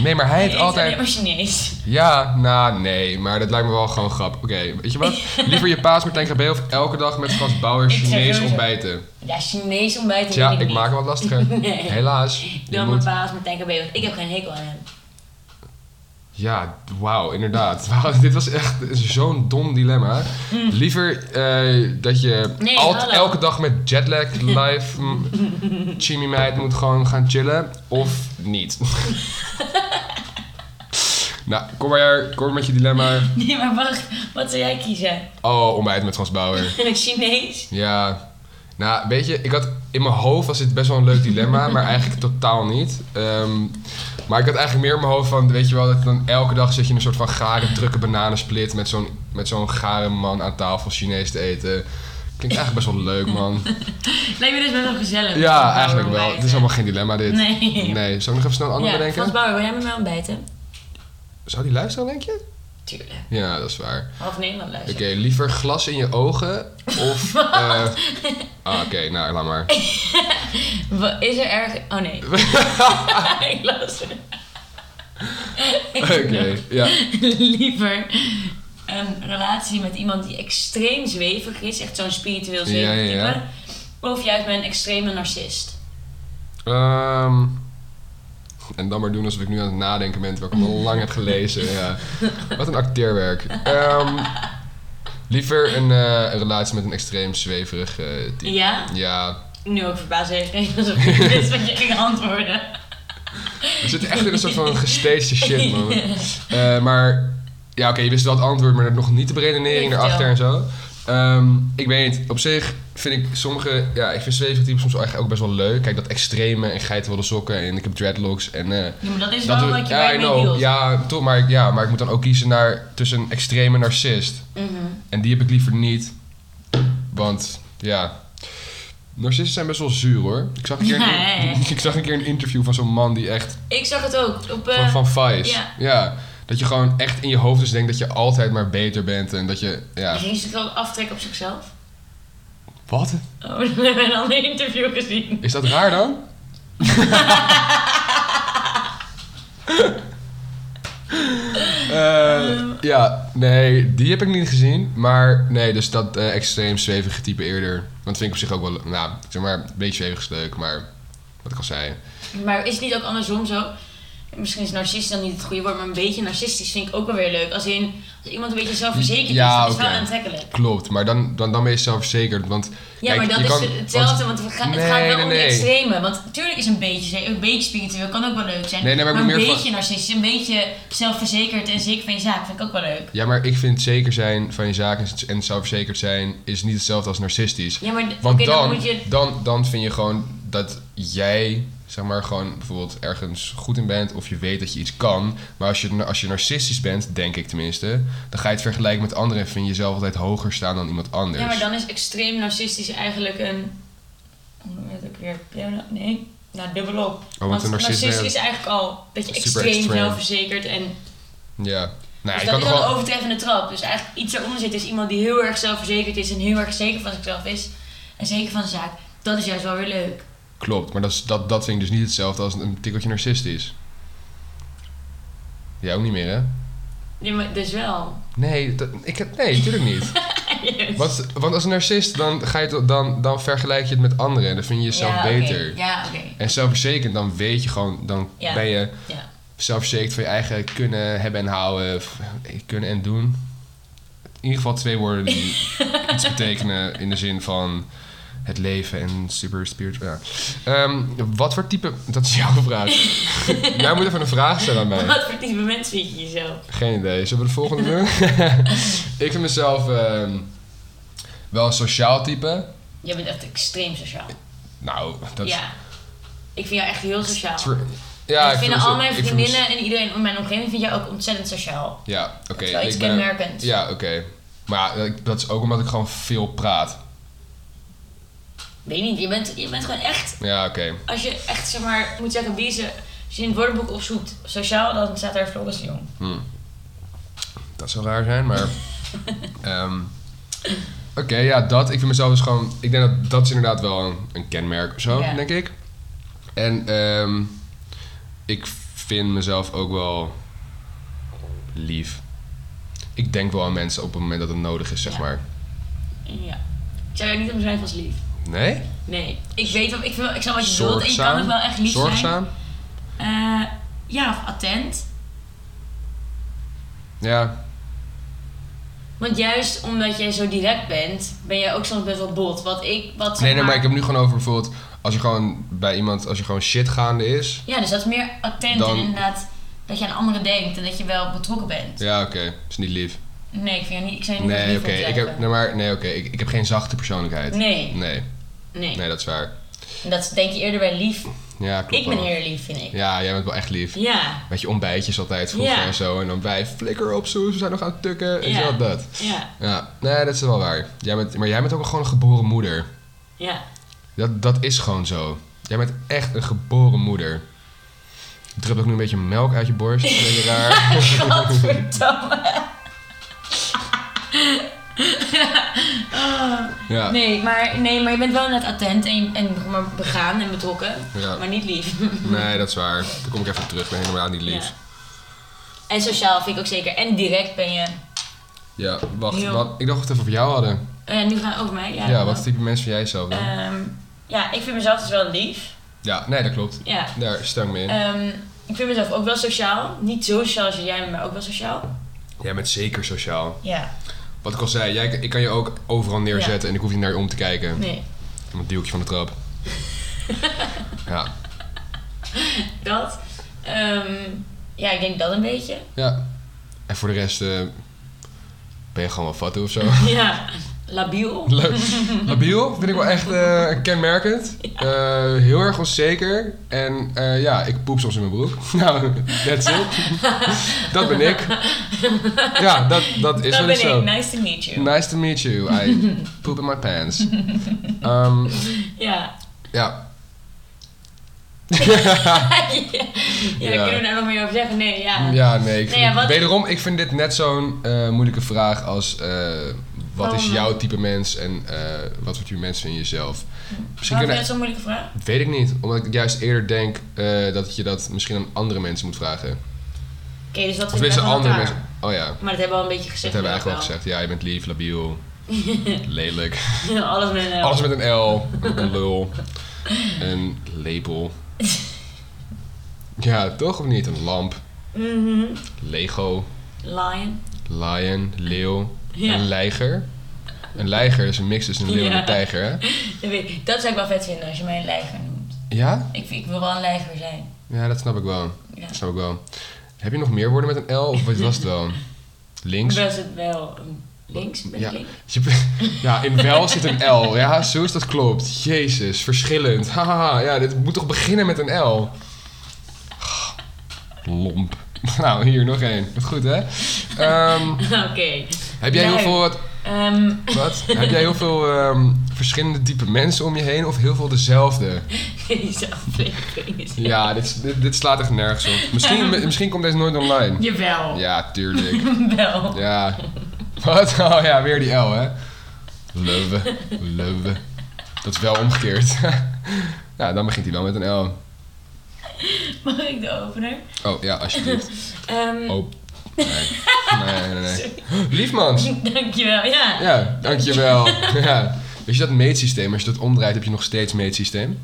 Speaker 1: nee, maar hij
Speaker 3: Eet
Speaker 1: eet
Speaker 3: alleen
Speaker 1: altijd...
Speaker 3: maar Chinees.
Speaker 1: Ja, nou nee, maar dat lijkt me wel gewoon grappig. Oké, weet je wat? Liever je paas Martijn Krabbe of elke dag met Frans Bauer
Speaker 2: Ik zeg
Speaker 1: Chinees
Speaker 2: sowieso.
Speaker 1: ontbijten?
Speaker 2: Ja, Chinees ontbijt
Speaker 1: Tja,
Speaker 2: weet ik,
Speaker 1: ik
Speaker 2: niet.
Speaker 1: maak hem wat lastiger.
Speaker 3: Nee.
Speaker 1: Helaas. Je
Speaker 3: Dan mijn
Speaker 1: moet...
Speaker 3: baas met TKB, want ik heb geen hekel aan hem. [laughs]
Speaker 1: Ja, wauw, inderdaad. [laughs] Wauw, dit was echt zo'n dom dilemma. Liever eh, dat je
Speaker 3: Hm. Nee,
Speaker 1: alt-
Speaker 3: hallo.
Speaker 1: elke dag met
Speaker 3: [laughs]
Speaker 1: jetlag live mm, Jimmy meid moet gewoon gaan chillen, of niet.
Speaker 3: [laughs]
Speaker 1: nou, kom maar, kom maar met je dilemma.
Speaker 3: Nee, maar wacht. Wat zou jij kiezen? [laughs]
Speaker 1: Oh, ontbijt met Frans Bauer.
Speaker 3: Een Chinees?
Speaker 1: Ja. Nou, weet je, ik had in mijn hoofd was dit best wel een leuk dilemma, maar eigenlijk totaal niet. Ehm, maar ik had eigenlijk meer in mijn hoofd van, weet je wel, dat dan elke dag zit je in een soort van gare, drukke bananensplit met zo'n, met zo'n gare man aan tafel Chinees te eten. Klinkt eigenlijk best wel leuk,
Speaker 3: [laughs]
Speaker 1: man.
Speaker 3: Lijkt me dus best wel gezellig.
Speaker 1: Ja, eigenlijk wel. Het is allemaal geen dilemma, dit.
Speaker 3: Nee.
Speaker 1: Nee. Zou ik nog even snel een ander
Speaker 3: Ja, Frans
Speaker 1: bedenken?
Speaker 3: Bauer, wil jij met mij ontbijten?
Speaker 1: Zou die luisteren, denk je?
Speaker 3: Tuurlijk.
Speaker 1: Ja, dat is waar.
Speaker 3: Half Nederland luistert.
Speaker 1: Oké, liever glas in je ogen
Speaker 3: [laughs]
Speaker 1: of... eh, ah, Oké, nou, laat maar.
Speaker 3: Wa- Is er erg... Oh
Speaker 1: [laughs]
Speaker 3: nee. [laughs] ik luister.
Speaker 1: Oké,
Speaker 3: [laughs]
Speaker 1: ja.
Speaker 3: Liever een relatie met iemand die extreem zwevig is. Echt zo'n spiritueel
Speaker 1: Ja,
Speaker 3: zwevig
Speaker 1: ja,
Speaker 3: type.
Speaker 1: ja.
Speaker 3: Of juist met een extreme narcist.
Speaker 1: Ehm, en dan maar doen alsof ik nu aan het nadenken ben, terwijl ik hem al lang heb gelezen. Ja. Wat een acteerwerk. Ehm, liever een, eh, een relatie met een extreem zweverig eh, type.
Speaker 3: Ja?
Speaker 1: Ja,
Speaker 3: Nu ook verbaasd reageert [laughs] alsof ik wist wat je ging antwoorden.
Speaker 1: we zitten echt in een soort van gestaged shit, man. Eh, maar, ja oké, je wist wel het antwoord, maar nog niet de
Speaker 3: Nee,
Speaker 1: beredenering
Speaker 3: vertel.
Speaker 1: erachter en zo. Ehm, ik weet niet, op zich vind ik sommige, ja, ik vind zweverige types soms eigenlijk ook best wel leuk. Kijk, dat extreme en geitenwolle sokken en ik heb dreadlocks en... eh,
Speaker 3: Ja, maar dat is
Speaker 1: Dat
Speaker 3: wel
Speaker 1: doe
Speaker 3: wat
Speaker 1: ik-
Speaker 3: je
Speaker 1: ja,
Speaker 3: waar
Speaker 1: I
Speaker 3: je mee
Speaker 1: know.
Speaker 3: deelt.
Speaker 1: Ja, toch, maar, ik- ja, maar ik moet dan ook kiezen naar, tussen een extreme narcist.
Speaker 3: Mhm.
Speaker 1: En die heb ik liever niet. Want, ja... Narcisten zijn best wel zuur, hoor. Ik zag een keer een,
Speaker 3: Ja, ja, ja.
Speaker 1: [laughs] ik zag een, keer een interview van zo'n man die echt...
Speaker 3: Ik zag het ook. Op,
Speaker 1: Van,
Speaker 3: eh, [laughs]
Speaker 1: van Vice.
Speaker 3: ja.
Speaker 1: Dat je gewoon echt in je hoofd dus denkt dat je altijd maar beter bent. En dat je... Ja.
Speaker 3: Ging ze ook aftrekken op zichzelf?
Speaker 1: Wat?
Speaker 3: Oh, [laughs] we hebben een ander interview gezien.
Speaker 1: Is dat raar
Speaker 3: [laughs]
Speaker 1: dan? Eh, ja, nee, die heb ik niet gezien. Maar nee, dus dat eh, extreem zwevige type eerder. Want vind ik op zich ook wel, nou, zeg maar, een beetje zwevig is leuk. Maar wat ik al zei.
Speaker 3: Maar is het niet ook andersom zo? Misschien is narcist dan niet het goede woord, maar een beetje narcistisch vind ik ook wel weer leuk. Als, in, als iemand een beetje zelfverzekerd
Speaker 1: Ja,
Speaker 3: is, dat is
Speaker 1: oké.
Speaker 3: wel aantrekkelijk.
Speaker 1: Klopt, maar dan, dan, dan ben je zelfverzekerd. Want,
Speaker 3: Ja,
Speaker 1: kijk,
Speaker 3: maar dat
Speaker 1: je
Speaker 3: is
Speaker 1: kan-
Speaker 3: hetzelfde,
Speaker 1: want-
Speaker 3: want we gaan, het
Speaker 1: Nee,
Speaker 3: gaat wel
Speaker 1: nee,
Speaker 3: om de
Speaker 1: nee.
Speaker 3: extreme. Want natuurlijk is een beetje, zee- een beetje spiritueel kan ook wel leuk zijn.
Speaker 1: Nee, nee, maar
Speaker 3: maar
Speaker 1: ik
Speaker 3: een
Speaker 1: bedoel meer
Speaker 3: beetje narcistisch, een beetje zelfverzekerd en zeker van je zaak vind ik ook wel leuk.
Speaker 1: Ja, maar ik vind zeker zijn van je zaken en zelfverzekerd zijn is niet hetzelfde als narcistisch.
Speaker 3: Ja, maar d-
Speaker 1: Want
Speaker 3: oké, dan,
Speaker 1: dan,
Speaker 3: moet je...
Speaker 1: dan, dan vind je gewoon dat jij, zeg maar, gewoon bijvoorbeeld ergens goed in bent of je weet dat je iets kan. Maar als je, als je narcistisch bent, denk ik tenminste, dan ga je het vergelijken met anderen en vind je jezelf altijd hoger staan dan iemand anders.
Speaker 3: Ja, maar dan is extreem narcistisch eigenlijk een... Hoe noem je dat ook weer? Pleona- Nee, nou dubbelop.
Speaker 1: oh, want een narcist,
Speaker 3: narcist is eigenlijk al dat je
Speaker 1: Super
Speaker 3: extreem,
Speaker 1: extreem. Nou
Speaker 3: zelfverzekerd en...
Speaker 1: Ja. Nou,
Speaker 3: dus
Speaker 1: je kan
Speaker 3: dat
Speaker 1: toch
Speaker 3: is dan
Speaker 1: wel...
Speaker 3: een overtreffende trap. Dus eigenlijk iets eronder zit is iemand die heel erg zelfverzekerd is en heel erg zeker van zichzelf is. En zeker van zijn zaak. Dat is juist wel weer leuk.
Speaker 1: Klopt, maar dat, is, dat, dat vind ik dus niet hetzelfde als een tikkeltje narcistisch. Jij ook niet meer, hè?
Speaker 3: Ja, maar dus wel.
Speaker 1: Nee, dat, ik heb, nee, natuurlijk niet.
Speaker 3: [laughs] Yes.
Speaker 1: Want, want als een narcist, dan, ga je, het- dan, dan vergelijk je het met anderen en dan vind je jezelf
Speaker 2: ja, oké.
Speaker 1: beter.
Speaker 2: Ja, oké.
Speaker 1: En zelfverzekerd, dan weet je gewoon, dan
Speaker 2: Ja.
Speaker 1: ben je
Speaker 2: Ja.
Speaker 1: zelfverzekerd van je eigen kunnen hebben en houden, f- kunnen en doen. In ieder geval twee woorden
Speaker 3: [laughs]
Speaker 1: die iets betekenen in de zin van het leven en super spiritual. Ja. Ehm, wat voor type. Dat is jouw
Speaker 3: [laughs]
Speaker 1: vraag. Jij moet even een vraag stellen aan mij.
Speaker 3: Wat voor type mens vind je jezelf?
Speaker 1: Geen idee. Zullen we de volgende
Speaker 3: [laughs]
Speaker 1: doen? ik vind mezelf ehm, wel een sociaal type.
Speaker 3: Jij bent echt extreem sociaal.
Speaker 1: Nou, dat is.
Speaker 3: Ja. Ik vind jou echt heel sociaal.
Speaker 1: tr- Ja,
Speaker 3: ik vind
Speaker 1: mezelf-
Speaker 3: al mijn
Speaker 1: ik vind dus-
Speaker 3: vriendinnen en iedereen in mijn omgeving vind jou ook ontzettend sociaal.
Speaker 1: mez- Ja, oké.
Speaker 3: Wel iets
Speaker 1: ik ben-
Speaker 3: kenmerkends.
Speaker 1: Ja, oké. Maar ja, ik- dat is ook omdat ik gewoon veel praat.
Speaker 3: Weet niet, je bent, je bent gewoon echt
Speaker 1: Ja, oké.
Speaker 3: als je echt zeg maar moet zeggen wie ze, als je in het woordenboek opzoekt sociaal, dan staat daar Floris de Jong.
Speaker 1: Dat zou raar zijn,
Speaker 3: [laughs]
Speaker 1: maar... ehm, oké, ja, dat. Ik vind mezelf dus gewoon... Ik denk dat dat is inderdaad wel een, een kenmerk of zo,
Speaker 2: Ja.
Speaker 1: denk ik. En ehm, ik vind mezelf ook wel lief. Ik denk wel aan mensen op het moment dat het nodig is, zeg
Speaker 3: Ja.
Speaker 1: maar.
Speaker 3: Ja. Ik zou jou niet omschrijven als lief.
Speaker 1: Nee?
Speaker 3: Nee. Ik weet wat, ik, vind, wel- ik snap wat je bedoelt en je kan ook wel echt lief zijn.
Speaker 1: Zorgzaam?
Speaker 3: Eh, ja, of attent.
Speaker 1: Ja.
Speaker 3: Want juist omdat jij zo direct bent, ben jij ook soms best wel bot. Wat ik, wat zeg
Speaker 1: Nee, nee, maar
Speaker 3: maar-
Speaker 1: ik heb nu gewoon over bijvoorbeeld... Als er gewoon bij iemand... Als er gewoon shit gaande is...
Speaker 3: Ja, dus dat is meer attent
Speaker 1: Dan-
Speaker 3: en inderdaad dat je aan anderen denkt en dat je wel betrokken bent.
Speaker 1: Ja, oké. is niet lief.
Speaker 3: Nee, ik vind jou niet, ik zou je niet
Speaker 1: Nee,
Speaker 3: lief
Speaker 1: oké. Ik heb,
Speaker 3: omschrijven.
Speaker 1: nee, maar, nee, oké, ik, ik heb geen zachte persoonlijkheid.
Speaker 3: Nee,
Speaker 1: Nee,
Speaker 3: nee.
Speaker 1: nee, dat is waar.
Speaker 2: En Dat is denk je eerder bij lief.
Speaker 1: Ja, klopt
Speaker 2: Ik ben
Speaker 1: wel.
Speaker 2: eerder lief, vind ik.
Speaker 1: Ja, jij bent wel echt lief.
Speaker 3: Ja,
Speaker 1: Weet je, ontbijtjes altijd vroeger
Speaker 3: Ja.
Speaker 1: en zo. En dan wij flikker op, zo, we zijn nog aan het tukken. En
Speaker 3: Ja.
Speaker 1: zo, dat.
Speaker 3: ja,
Speaker 1: Ja, nee, dat is wel waar. Jij bent, maar jij bent ook gewoon een geboren moeder.
Speaker 2: [laughs]
Speaker 3: ja.
Speaker 1: Dat, dat is gewoon zo. Jij bent echt een geboren moeder. Je drupt ook nu een beetje melk uit je borst. Dat is een beetje raar.
Speaker 3: [laughs] Godverdomme.
Speaker 1: Ja.
Speaker 3: Nee, maar, nee, maar je bent wel net attent en, je- en zeg maar begaan en betrokken,
Speaker 1: Ja.
Speaker 3: maar niet lief.
Speaker 1: Nee, dat is waar. Daar kom ik even op terug. Ik ben helemaal niet lief.
Speaker 3: [laughs] Ja. En sociaal vind ik ook zeker. En direct ben je.
Speaker 1: Ja, wacht.
Speaker 3: Heel.
Speaker 1: Wat, ik dacht dat we het even over jou hadden.
Speaker 3: Eh, nu gaan we over mij. Ja,
Speaker 1: Ja,
Speaker 3: wel.
Speaker 1: wat type mens vind jij zelf dan?
Speaker 3: Ehm, ja, ik vind mezelf dus wel lief.
Speaker 1: ja, nee, dat klopt.
Speaker 3: Ja.
Speaker 1: Daar stem ik mee in.
Speaker 3: Ehm, ik vind mezelf ook wel sociaal. Niet zo sociaal als jij, maar ook wel sociaal.
Speaker 1: jij bent zeker sociaal.
Speaker 2: Ja.
Speaker 1: Wat ik al zei, jij, ik kan je ook overal neerzetten en ik hoef niet naar je om te kijken.
Speaker 3: Nee,
Speaker 1: Een duwtje van de
Speaker 3: [laughs]
Speaker 1: trap. ja.
Speaker 3: dat. Ehm, ja, ik denk dat een beetje.
Speaker 1: ja. En voor de rest eh, ben je gewoon wel fatsoen of zo.
Speaker 3: Ja, labiel.
Speaker 1: La- Labiel vind ik wel echt eh, kenmerkend. Eh, heel erg onzeker. En eh, ja, ik poep soms in mijn broek. [laughs] Nou, that's it. dat ben ik. Ja, dat, dat is wel
Speaker 3: dat ben
Speaker 1: eens zo.
Speaker 3: ik. Nou, Nice to
Speaker 1: [laughs]
Speaker 3: meet you.
Speaker 1: Nice to meet you. I poop in my pants. Ehm,
Speaker 3: Ja.
Speaker 1: ja.
Speaker 3: [laughs] ja, daar
Speaker 1: Ah. Ja.
Speaker 3: kunnen we daar nog meer over zeggen. Nee, ja.
Speaker 1: ja, nee. Ik
Speaker 3: Nee,
Speaker 1: vind-
Speaker 3: ja, wat-
Speaker 1: Wederom, ik vind dit net zo'n eh, moeilijke vraag als... eh, wat is
Speaker 3: Waarom?
Speaker 1: jouw type mens en eh, wat voor type mens vind je jezelf? Misschien
Speaker 3: Waarom vind je
Speaker 1: kunnen...
Speaker 3: dat zo'n moeilijke vraag?
Speaker 1: Weet ik niet. Omdat ik juist eerder denk eh, dat je dat misschien aan andere mensen moet vragen.
Speaker 3: Oké, dus wat
Speaker 1: Of
Speaker 3: vind je
Speaker 1: mensen
Speaker 3: van
Speaker 1: andere
Speaker 3: elkaar?
Speaker 1: mensen... Oh ja, dat
Speaker 3: Maar dat hebben we al een beetje gezegd.
Speaker 1: hebben we eigenlijk wel
Speaker 3: wel.
Speaker 1: gezegd. Ja, je bent lief,
Speaker 3: [laughs]
Speaker 1: labiel, lelijk.
Speaker 3: Alles met eh, een L.
Speaker 1: Alles met een L, een lul, een lepel. Ja, toch of niet? Een lamp,
Speaker 3: Mhm.
Speaker 1: Lego,
Speaker 3: Lion. [laughs]
Speaker 1: lion, leeuw,
Speaker 3: Ja.
Speaker 1: een leiger. Een leiger is een mix tussen een leeuw en
Speaker 3: Ja.
Speaker 1: een tijger, hè?
Speaker 2: Dat, weet ik- dat zou ik wel vet vinden als je mij een lijger noemt.
Speaker 1: Ja?
Speaker 2: Ik, ik wil wel een lijger zijn.
Speaker 1: Ja, dat snap ik wel.
Speaker 2: Ja.
Speaker 1: Dat snap ik wel. Heb je nog meer woorden met een L of wat was het wel? Links?
Speaker 3: Was het wel een links? Ben ik
Speaker 1: Ja.
Speaker 3: links? [laughs]
Speaker 1: Je- [laughs] Ja, in wel zit een L. Ja, zo is dat klopt. Jezus, verschillend. Haha, ja, dit moet toch beginnen met een L? Lomp. [laughs] Nou, hier nog één. Wat goed, hè? Ehm,
Speaker 3: Oké.
Speaker 1: heb jij heel
Speaker 3: Lui.
Speaker 1: veel, wat,
Speaker 3: Ehm, [laughs]
Speaker 1: wat? Heb jij heel veel ehm, verschillende type mensen om je heen of heel veel dezelfde?
Speaker 3: deze aflevering is...
Speaker 1: Ja, dit, is- dit, dit slaat echt nergens op.
Speaker 3: [laughs]
Speaker 1: Misschien, misschien komt deze nooit online.
Speaker 3: Jawel.
Speaker 1: Ja, tuurlijk.
Speaker 3: [laughs] Wel.
Speaker 1: Ja. [laughs] Wat? Oh ja, weer die L, hè? Leuwe, leuwe. Dat is wel omgekeerd. [laughs] ja, dan begint hij wel met een L.
Speaker 3: Mag ik de opener?
Speaker 1: Oh ja, alsjeblieft.
Speaker 3: Ehm, [laughs]
Speaker 1: Oh. Nee, nee, nee. nee. Liefmans.
Speaker 3: Dankjewel. Ja.
Speaker 1: Ja, dankjewel. [laughs] Ja. Weet je dat meetsysteem? Als je dat omdraait, heb je nog steeds meetsysteem.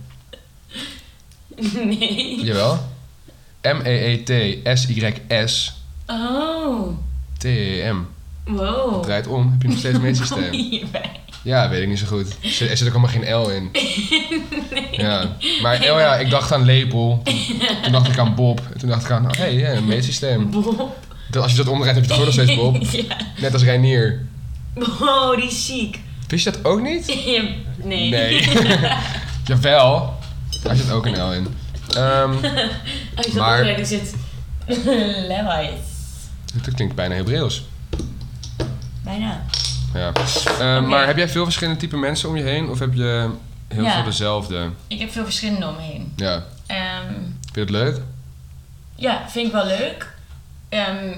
Speaker 3: [laughs] Nee.
Speaker 1: Jawel. E M-E-E-T-S-Y-S-T-E-M.
Speaker 3: Oh. Wow.
Speaker 1: E Draait om, heb je nog steeds
Speaker 3: [laughs] Kom
Speaker 1: meetsysteem.
Speaker 3: hierbij.
Speaker 1: Ja, weet ik niet zo goed. Er zit er zit ook allemaal geen L in. Ja. Maar oh ja, ik dacht aan lepel. Toen, toen dacht ik aan Bob. En toen dacht ik aan, hé, hey, ja, een meetsysteem.
Speaker 3: Bob.
Speaker 1: Dat- Als je dat omdraait heb je toch ook nog steeds Bob.
Speaker 3: [laughs] ja.
Speaker 1: Net als Reinier.
Speaker 3: Wow, die is [laughs] ziek.
Speaker 1: Wist je dat ook niet?
Speaker 3: Je- nee. [laughs]
Speaker 1: [laughs] Jawel. Daar zit ook een L in. Ehm,
Speaker 3: Als je dat
Speaker 1: Maar-
Speaker 3: opmerkt, is [laughs] het...
Speaker 2: Levi's.
Speaker 1: dat klinkt bijna Hebreeuws.
Speaker 2: Bijna.
Speaker 1: Ja. Ehm, Maar heb jij veel verschillende type mensen om je heen? Of heb je heel
Speaker 2: Ja.
Speaker 1: veel dezelfde?
Speaker 2: Ik heb veel verschillende om me heen.
Speaker 1: Ja.
Speaker 2: Ehm,
Speaker 1: Vind je het leuk?
Speaker 2: ja, vind ik wel leuk.
Speaker 3: Ehm,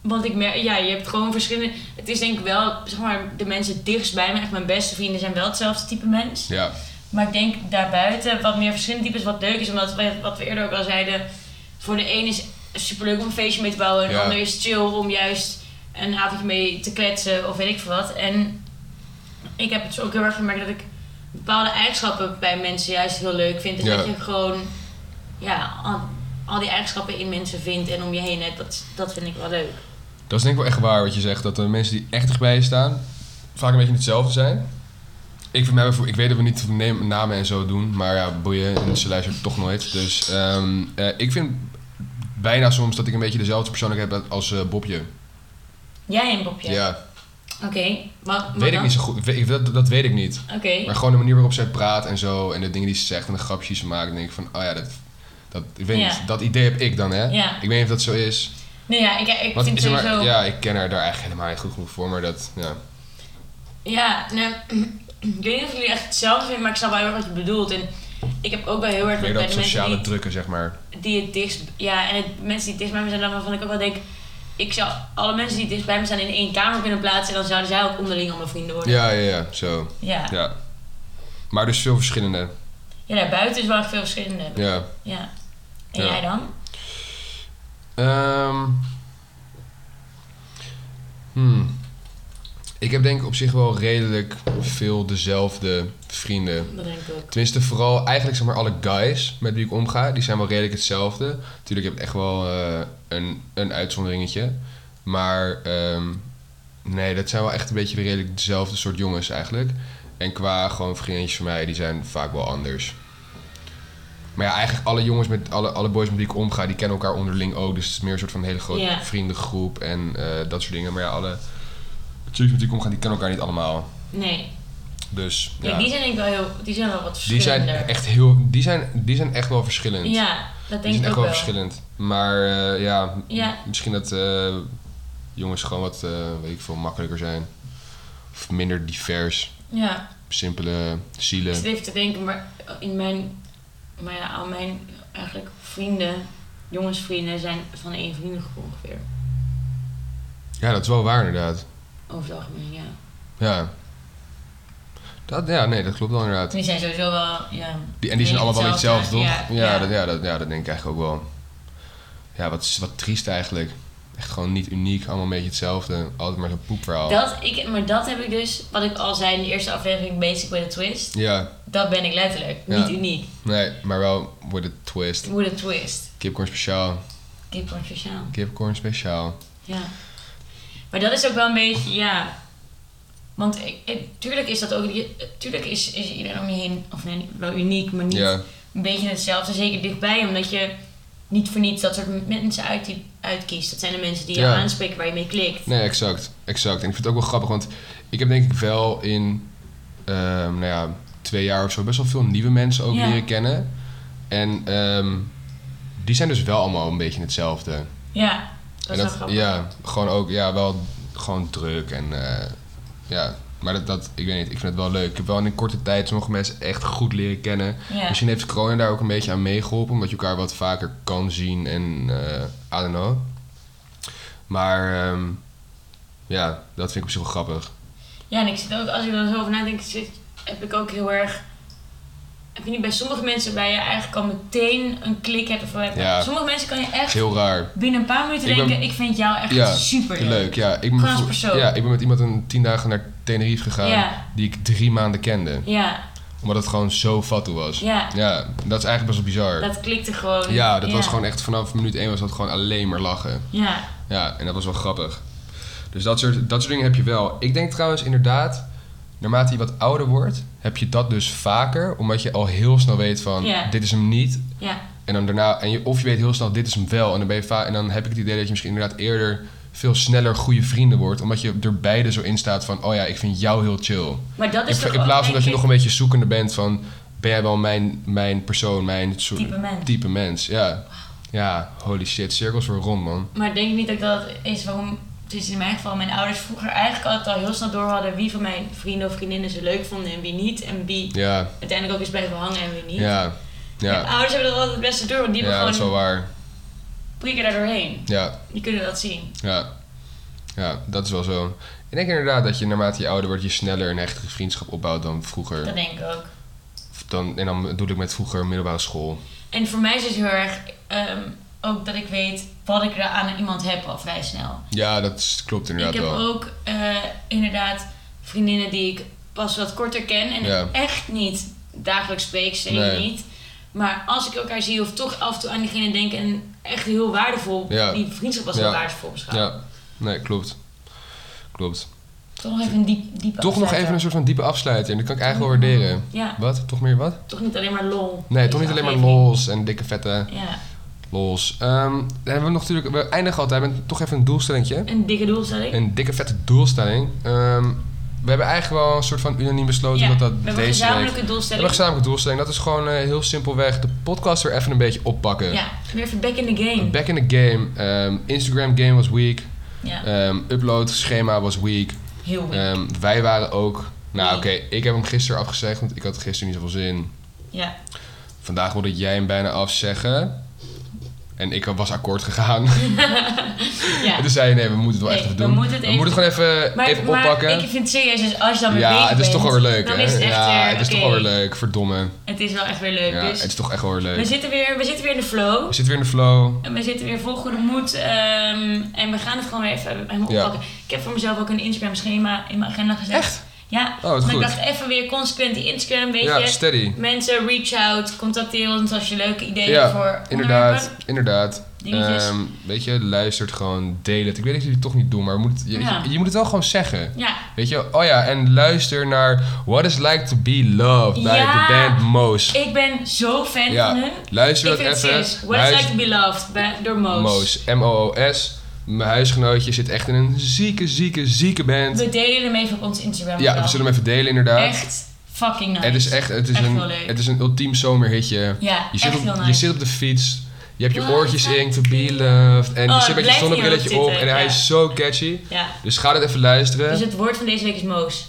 Speaker 3: want ik merk... Ja, je hebt gewoon verschillende... Het is denk ik wel... Zeg maar, de mensen dichtst bij me, echt mijn beste vrienden, zijn wel hetzelfde type mens.
Speaker 1: Ja.
Speaker 3: Maar ik denk daarbuiten wat meer verschillende types wat leuk is. Omdat we, wat we eerder ook al zeiden. Voor de een is superleuk om een feestje mee te bouwen. En de
Speaker 1: Ja.
Speaker 3: ander is chill om juist een avondje mee te kletsen of weet ik veel wat. En ik heb het ook heel erg gemerkt dat ik bepaalde eigenschappen bij mensen juist heel leuk vind. Dus
Speaker 1: Ja.
Speaker 3: dat je gewoon ja, al, al die eigenschappen in mensen vindt en om je heen hebt. Dat, dat vind ik wel leuk.
Speaker 1: Dat is denk ik wel echt waar wat je zegt. Dat de mensen die echt dichtbij je staan vaak een beetje hetzelfde zijn. Ik, vind mij bijvoorbeeld- ik weet dat we niet neem- namen en zo doen. Maar ja, boeien. En ze luistert toch nooit. Dus ehm, eh, ik vind bijna soms dat ik een beetje dezelfde persoonlijkheid heb als eh, Bobje.
Speaker 3: Jij en Bobje.
Speaker 1: Ja,
Speaker 3: Oké. maar- maar
Speaker 1: weet ik
Speaker 3: dan-
Speaker 1: niet zo goed. We- ik- dat, dat weet ik niet.
Speaker 3: Oké.
Speaker 1: Maar gewoon de manier waarop zij praat en zo. En de dingen die ze zegt en de grapjes die ze maakt. Dan denk ik van, oh ja, dat, dat, ik weet
Speaker 3: Ja.
Speaker 1: niet, dat idee heb ik dan, hè?
Speaker 3: Ja.
Speaker 1: Ik weet niet of dat zo is.
Speaker 3: Nee, ja, ik, ik
Speaker 1: Want
Speaker 3: vind
Speaker 1: is er maar-
Speaker 3: sowieso...
Speaker 1: ja, ik ken haar daar eigenlijk helemaal niet goed genoeg voor. Maar dat, ja.
Speaker 3: Ja, nou, [clears throat] ik weet niet of jullie echt hetzelfde vinden, maar ik snap wel heel erg wat je bedoelt. En ik heb ook wel heel erg
Speaker 1: Meer
Speaker 3: bij
Speaker 1: dat
Speaker 3: de mensen
Speaker 1: sociale
Speaker 3: die,
Speaker 1: drukken, zeg maar.
Speaker 3: die het dichtst... Ja, en het, mensen die het dichtst bij me zijn, dan waarvan ik ook wel denk... Ik zou alle mensen die het dichtst bij me zijn in één kamer kunnen plaatsen... en dan zouden zij ook onderling allemaal vrienden worden.
Speaker 1: Ja, ja, ja, zo.
Speaker 3: Ja, ja.
Speaker 1: Ja. Maar dus veel verschillende.
Speaker 3: daarbuiten is wel echt veel verschillende. Ja.
Speaker 1: Ja. Ja.
Speaker 3: En jij dan?
Speaker 1: Ehm. hmm. Ik heb denk ik op zich wel redelijk veel dezelfde vrienden.
Speaker 3: Dat denk ik ook.
Speaker 1: Tenminste, vooral eigenlijk zeg maar alle guys met wie ik omga, die zijn wel redelijk hetzelfde. Natuurlijk heb ik echt wel eh, een, een uitzonderingetje. Maar ehm, nee, dat zijn wel echt een beetje de redelijk dezelfde soort jongens eigenlijk. En qua gewoon vriendinnetjes van mij, die zijn vaak wel anders. Maar ja, eigenlijk alle jongens met alle, alle boys met wie ik omga, die kennen elkaar onderling ook. Dus het is meer een soort van een hele grote
Speaker 3: Ja.
Speaker 1: vriendengroep en eh, dat soort dingen. Maar ja, alle chicks met wie ik omga, die kennen elkaar niet allemaal.
Speaker 3: Nee.
Speaker 1: Dus
Speaker 3: Kijk,
Speaker 1: ja.
Speaker 3: die zijn denk ik wel heel... Die zijn wel wat
Speaker 1: Die
Speaker 3: verschillender.
Speaker 1: zijn echt heel. Die zijn, die zijn echt wel verschillend.
Speaker 3: Ja, dat
Speaker 1: die zijn
Speaker 3: denk ik
Speaker 1: echt
Speaker 3: ook
Speaker 1: wel,
Speaker 3: wel.
Speaker 1: verschillend. Maar eh, ja, m-
Speaker 3: Ja.
Speaker 1: misschien dat eh, jongens gewoon wat eh, weet ik veel, makkelijker zijn. Of minder divers.
Speaker 3: Ja.
Speaker 1: Simpele
Speaker 3: Ik
Speaker 1: zielen.
Speaker 3: zit even te denken, maar in mijn, maar ja, al mijn eigenlijk vrienden, jongensvrienden, zijn van één vriendengroep ongeveer.
Speaker 1: Ja, dat is wel waar inderdaad.
Speaker 3: Over het algemeen, ja.
Speaker 1: Ja. Dat, ja, nee, dat klopt wel inderdaad.
Speaker 2: Die zijn sowieso wel, ja.
Speaker 1: Die, en die
Speaker 2: Denk
Speaker 1: zijn allemaal wel hetzelfde,
Speaker 2: hetzelfde,
Speaker 1: toch? Ja,
Speaker 2: ja, ja.
Speaker 1: Dat, ja, dat, ja, dat denk ik eigenlijk ook wel. Ja, wat, is- wat triest eigenlijk. Echt gewoon niet uniek, allemaal een beetje hetzelfde. Altijd maar zo'n poepverhaal.
Speaker 3: Dat, ik, maar dat heb ik dus, wat ik al zei in de eerste aflevering, Basic with a Twist.
Speaker 1: Ja,
Speaker 3: Dat ben ik letterlijk.
Speaker 1: Ja.
Speaker 3: Niet uniek.
Speaker 1: nee, maar wel with a twist.
Speaker 3: With a Twist.
Speaker 1: Kipcorn speciaal.
Speaker 3: Kip van speciaal.
Speaker 1: Kipcorn speciaal.
Speaker 3: Ja. Maar dat is ook wel een beetje, ja. Want ik, ik- tuurlijk is dat ook, je- eh, tuurlijk is, is iedereen om je heen, of nee, wel uniek, maar niet
Speaker 1: Ja,
Speaker 3: een beetje hetzelfde. Zeker dichtbij, omdat je niet voor niets dat soort mensen uit, uitkiest. Dat zijn de mensen die je
Speaker 1: Ja.
Speaker 3: aanspreken, waar je mee klikt.
Speaker 1: nee, exact. Exact. En ik vind het ook wel grappig, want ik heb denk ik wel in, ehm, nou ja, twee jaar of zo best wel veel nieuwe mensen ook
Speaker 3: Ja.
Speaker 1: leren kennen. En ehm, die zijn dus wel allemaal een beetje hetzelfde.
Speaker 3: Ja, dat is
Speaker 1: En
Speaker 3: wel grappig.
Speaker 1: Ja, gewoon ook, ja, wel gewoon druk en eh, ja. Maar dat, dat, ik weet niet, ik vind het wel leuk. Ik heb wel in een korte tijd sommige mensen echt goed leren kennen.
Speaker 2: Ja.
Speaker 1: Misschien heeft corona daar ook een beetje aan meegeholpen, omdat je elkaar wat vaker kan zien en eh I don't know. Maar ehm, ja, dat vind ik op zich wel grappig.
Speaker 3: Ja, en ik zit ook, als ik er zo over nadenk, zit, heb ik ook heel erg. Heb je niet bij sommige mensen waar je eigenlijk al meteen een klik hebt? Of,
Speaker 1: Ja.
Speaker 3: Sommige mensen kan je
Speaker 1: Het is
Speaker 3: echt
Speaker 1: heel raar.
Speaker 3: binnen een paar minuten
Speaker 1: Ik ben-
Speaker 3: denken: ik vind jou echt
Speaker 1: Ja,
Speaker 3: super
Speaker 1: Leuk, ja. Ik ben,
Speaker 3: Gewoon als
Speaker 1: bijvoorbeeld-
Speaker 3: persoon.
Speaker 1: ja, ik ben met iemand een tien dagen naar Tenerife gegaan
Speaker 3: Ja.
Speaker 1: die ik drie maanden kende.
Speaker 3: Ja,
Speaker 1: Omdat het gewoon zo fatsoen was.
Speaker 3: ja,
Speaker 1: dat is eigenlijk best wel bizar.
Speaker 3: dat klikte gewoon.
Speaker 1: Ja, dat was gewoon echt vanaf minuut 1 was dat gewoon alleen maar lachen.
Speaker 3: Ja,
Speaker 1: Ja, en dat was wel grappig. Dus dat soort, dat soort dingen heb je wel. Ik denk trouwens inderdaad, naarmate je wat ouder wordt, heb je dat dus vaker. Omdat je al heel snel weet van,
Speaker 3: Ja.
Speaker 1: dit is hem niet.
Speaker 3: ja,
Speaker 1: En dan daarna, en je, of je weet heel snel, dit is hem wel. En dan, ben je va- en dan heb ik het idee dat je misschien inderdaad eerder veel sneller goede vrienden wordt. Omdat je er beide zo in staat van, oh ja, ik vind jou heel chill.
Speaker 3: maar dat is
Speaker 1: In,
Speaker 3: toch
Speaker 1: in
Speaker 3: ook,
Speaker 1: plaats van
Speaker 3: denk
Speaker 1: dat je
Speaker 3: ik,
Speaker 1: nog een beetje zoekende bent van... ben jij wel mijn, mijn persoon, mijn soort-
Speaker 2: Type mens.
Speaker 1: type mens, ja. Ja, holy shit, cirkels weer rond, man.
Speaker 3: Maar ik denk niet dat dat is waarom. Het is in mijn geval, mijn ouders vroeger eigenlijk altijd al heel snel door hadden wie van mijn vrienden of vriendinnen ze leuk vonden en wie niet. En wie
Speaker 1: Ja,
Speaker 3: uiteindelijk ook is blijven hangen en wie niet.
Speaker 1: ja,
Speaker 3: Mijn
Speaker 1: ja.
Speaker 3: ouders hebben dat altijd het beste door, want die
Speaker 1: Ja,
Speaker 3: hebben
Speaker 1: dat is wel
Speaker 3: gewoon
Speaker 1: waar.
Speaker 3: prikken daar doorheen.
Speaker 1: Ja,
Speaker 3: Die kunnen dat zien.
Speaker 1: ja. Ja, dat is wel zo. Ik denk inderdaad dat je naarmate je ouder wordt... je sneller een hechtere vriendschap opbouwt dan
Speaker 3: Dat
Speaker 1: vroeger.
Speaker 3: denk ik ook.
Speaker 1: Dan, en dan bedoel ik met vroeger middelbare school.
Speaker 3: En voor mij is het heel erg ehm, ook dat ik weet wat ik er aan iemand heb al vrij snel.
Speaker 1: Ja, dat is- klopt inderdaad
Speaker 3: ik heb
Speaker 1: wel.
Speaker 3: ook eh, inderdaad vriendinnen die ik pas wat korter ken en
Speaker 1: Ja.
Speaker 3: echt niet dagelijks spreek, zeker
Speaker 1: Nee.
Speaker 3: niet. Maar als ik elkaar zie of toch af en toe aan diegene denk en echt heel waardevol,
Speaker 1: Ja.
Speaker 3: die vriendschap was
Speaker 1: Ja.
Speaker 3: heel waardevol beschouwd.
Speaker 1: Ja, nee, klopt. Klopt.
Speaker 3: Toch nog even een diep, diepe
Speaker 1: Toch nog even een soort van diepe afsluiter. En dat kan ik eigenlijk wel waarderen.
Speaker 3: Ja,
Speaker 1: Wat? Toch meer wat?
Speaker 3: toch niet alleen maar lol.
Speaker 1: Nee,
Speaker 3: Deze
Speaker 1: toch niet alleen maar
Speaker 3: aflevering.
Speaker 1: lols en dikke vette
Speaker 3: Ja,
Speaker 1: lols. Ehm, dan hebben we nog natuurlijk, we eindigen altijd met toch even een doelstellingje.
Speaker 3: een dikke doelstelling.
Speaker 1: Een dikke vette doelstelling. Ehm, we hebben eigenlijk wel een soort van unaniem besloten
Speaker 3: Ja,
Speaker 1: dat
Speaker 3: we
Speaker 1: dat
Speaker 3: hebben een
Speaker 1: deze week...
Speaker 3: gezamenlijke
Speaker 1: We hebben
Speaker 3: doelstelling.
Speaker 1: een gezamenlijke doelstelling. Dat is gewoon eh, heel simpelweg de podcast weer even een beetje oppakken.
Speaker 3: Ja, weer even back in the game.
Speaker 1: Back in the game. Ehm, Instagram game was weak.
Speaker 3: Ja,
Speaker 1: Ehm, upload schema was weak.
Speaker 3: heel weird.
Speaker 1: Ehm, wij waren ook... Nou
Speaker 3: Nee.
Speaker 1: oké, ik heb hem gisteren afgezegd, want ik had gisteren niet zoveel zin.
Speaker 3: Ja.
Speaker 1: Vandaag wilde jij hem bijna afzeggen. En ik was akkoord gegaan.
Speaker 3: ja.
Speaker 1: [laughs] En toen zei je, nee, we moeten het wel
Speaker 3: Nee,
Speaker 1: echt even
Speaker 3: we
Speaker 1: doen.
Speaker 3: moeten het even-
Speaker 1: gewoon even,
Speaker 3: Maar,
Speaker 1: even
Speaker 3: maar
Speaker 1: oppakken.
Speaker 3: ik vind het serieus, dus als je dan weer
Speaker 1: ja,
Speaker 3: bezig
Speaker 1: het is toch wel
Speaker 3: bent,
Speaker 1: weer leuk,
Speaker 3: dan
Speaker 1: hè?
Speaker 3: Is het echt
Speaker 1: ja,
Speaker 3: weer,
Speaker 1: het is toch
Speaker 3: oké,
Speaker 1: wel weer leuk. Verdomme.
Speaker 3: Het is wel echt weer leuk.
Speaker 1: Ja,
Speaker 3: dus
Speaker 1: het is toch echt wel weer
Speaker 3: we,
Speaker 1: leuk.
Speaker 3: zitten weer, we zitten weer in de flow.
Speaker 1: We zitten weer in de flow.
Speaker 3: En we zitten weer vol goede moed. ehm, en we gaan het gewoon weer even helemaal
Speaker 1: Ja.
Speaker 3: oppakken. Ik heb voor mezelf ook een Instagram schema in mijn agenda gezet.
Speaker 1: Echt?
Speaker 3: Ja.
Speaker 1: Oh, wat
Speaker 3: want ik
Speaker 1: goed.
Speaker 3: dacht even weer consequent die Instagram, weet
Speaker 1: Ja,
Speaker 3: je.
Speaker 1: steady.
Speaker 3: Mensen, reach out, contacteer ons als je leuke ideeën voor
Speaker 1: Ja,
Speaker 3: onderwerpen.
Speaker 1: inderdaad. Inderdaad.
Speaker 3: Dingetjes.
Speaker 1: Ehm, weet je, luistert gewoon, deel het. Ik weet dat jullie het toch niet doen, maar je moet het- je,
Speaker 3: Ja.
Speaker 1: je, je moet het wel gewoon zeggen.
Speaker 3: Ja,
Speaker 1: Weet je, oh ja, en luister naar What It's Like To Be Loved bij
Speaker 3: Ja.
Speaker 1: de band Moos.
Speaker 3: ik ben zo fan van
Speaker 1: Ja,
Speaker 3: hun.
Speaker 1: luister
Speaker 3: Ik
Speaker 1: dat
Speaker 3: vind het
Speaker 1: even.
Speaker 3: serieus. What it's
Speaker 1: Luister-
Speaker 3: like to be loved bij- door Moos.
Speaker 1: Moos. M-O-O-S. Mijn huisgenootje zit echt in een zieke, zieke, zieke band.
Speaker 3: We delen hem even op ons Instagram.
Speaker 1: Ja, we
Speaker 3: account.
Speaker 1: zullen hem even delen inderdaad.
Speaker 3: Echt fucking nice.
Speaker 1: Het is echt, het is
Speaker 3: Echt
Speaker 1: een,
Speaker 3: heel leuk.
Speaker 1: het is een ultiem zomerhitje.
Speaker 3: Ja,
Speaker 1: Je zit,
Speaker 3: echt heel
Speaker 1: op,
Speaker 3: nice.
Speaker 1: je zit op de fiets, je hebt je
Speaker 3: Wow,
Speaker 1: oortjes
Speaker 3: fijn.
Speaker 1: in, to be loved. En
Speaker 3: Oh,
Speaker 1: je zit met je
Speaker 3: blijft
Speaker 1: zonnebrilletje
Speaker 3: hier ook
Speaker 1: op
Speaker 3: zitten,
Speaker 1: en hij
Speaker 3: ja.
Speaker 1: is zo catchy.
Speaker 3: Ja.
Speaker 1: Dus ga dat even luisteren.
Speaker 3: Dus het woord van deze week is moos.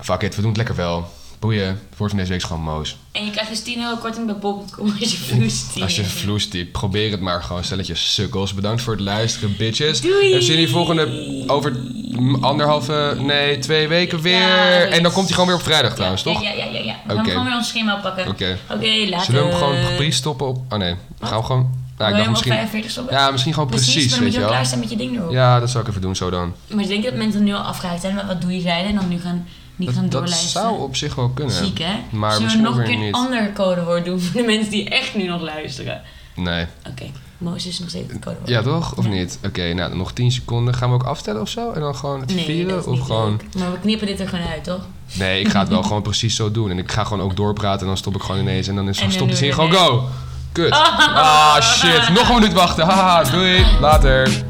Speaker 1: Fuck it, we doen het lekker wel. Boeien, het woord van deze week is gewoon moos.
Speaker 3: En je krijgt dus 10 euro korting bij bol.com als je vloest.
Speaker 1: Als je vloes typt, probeer het maar gewoon. Stelletje sukkels. Bedankt voor het luisteren, bitches.
Speaker 3: Doei.
Speaker 1: En we zien jullie volgende over mm, anderhalve, nee, twee weken weer.
Speaker 3: Ja,
Speaker 1: en dan komt hij gewoon weer op vrijdag trouwens, toch?
Speaker 3: Ja, ja, ja. ja, ja. We gaan
Speaker 1: Oké.
Speaker 3: gewoon weer ons schema pakken.
Speaker 1: Oké.
Speaker 3: Oké, later.
Speaker 1: Zullen we hem gewoon gepries stoppen op... Oh nee, we gaan hem gewoon... Nou, ik dacht misschien...
Speaker 2: 45 stoppen?
Speaker 1: Ja, misschien gewoon precies,
Speaker 2: maar dan moet
Speaker 1: weet
Speaker 2: je ook
Speaker 1: je wel.
Speaker 2: klaarstaan met je ding erop.
Speaker 1: Ja, dat zou ik even doen zo dan.
Speaker 3: Maar ik denk dat mensen nu al afgehaakt zijn. Maar wat doe je rijden? En dan nu gaan, niet gaan
Speaker 1: Dat, dat
Speaker 3: doorlijsten.
Speaker 1: zou op zich wel kunnen.
Speaker 3: Ziek, hè?
Speaker 1: Maar
Speaker 3: Zullen we
Speaker 1: misschien
Speaker 3: nog
Speaker 1: ook
Speaker 3: een
Speaker 1: weer
Speaker 3: keer een
Speaker 1: niet.
Speaker 3: ander codewoord doen voor de mensen die echt nu nog luisteren?
Speaker 1: Nee.
Speaker 3: Oké, Mozes is nog steeds het codewoord.
Speaker 1: Ja, toch? Of
Speaker 3: Ja.
Speaker 1: niet? Oké, nou, nog 10 seconden. Gaan we ook aftellen of zo? En dan gewoon het
Speaker 3: nee,
Speaker 1: vieren?
Speaker 3: dat is
Speaker 1: of
Speaker 3: niet
Speaker 1: gewoon...
Speaker 3: leuk. Maar we knippen dit er gewoon uit, toch?
Speaker 1: Nee, ik ga het wel gewoon precies zo doen. En ik ga gewoon ook doorpraten en dan stop ik gewoon ineens. En dan is
Speaker 3: En dan
Speaker 1: stopt het
Speaker 3: doen
Speaker 1: hier
Speaker 3: we
Speaker 1: gewoon go. Kut. Ah, shit. Nog een minuut wachten. Haha, doei. Later.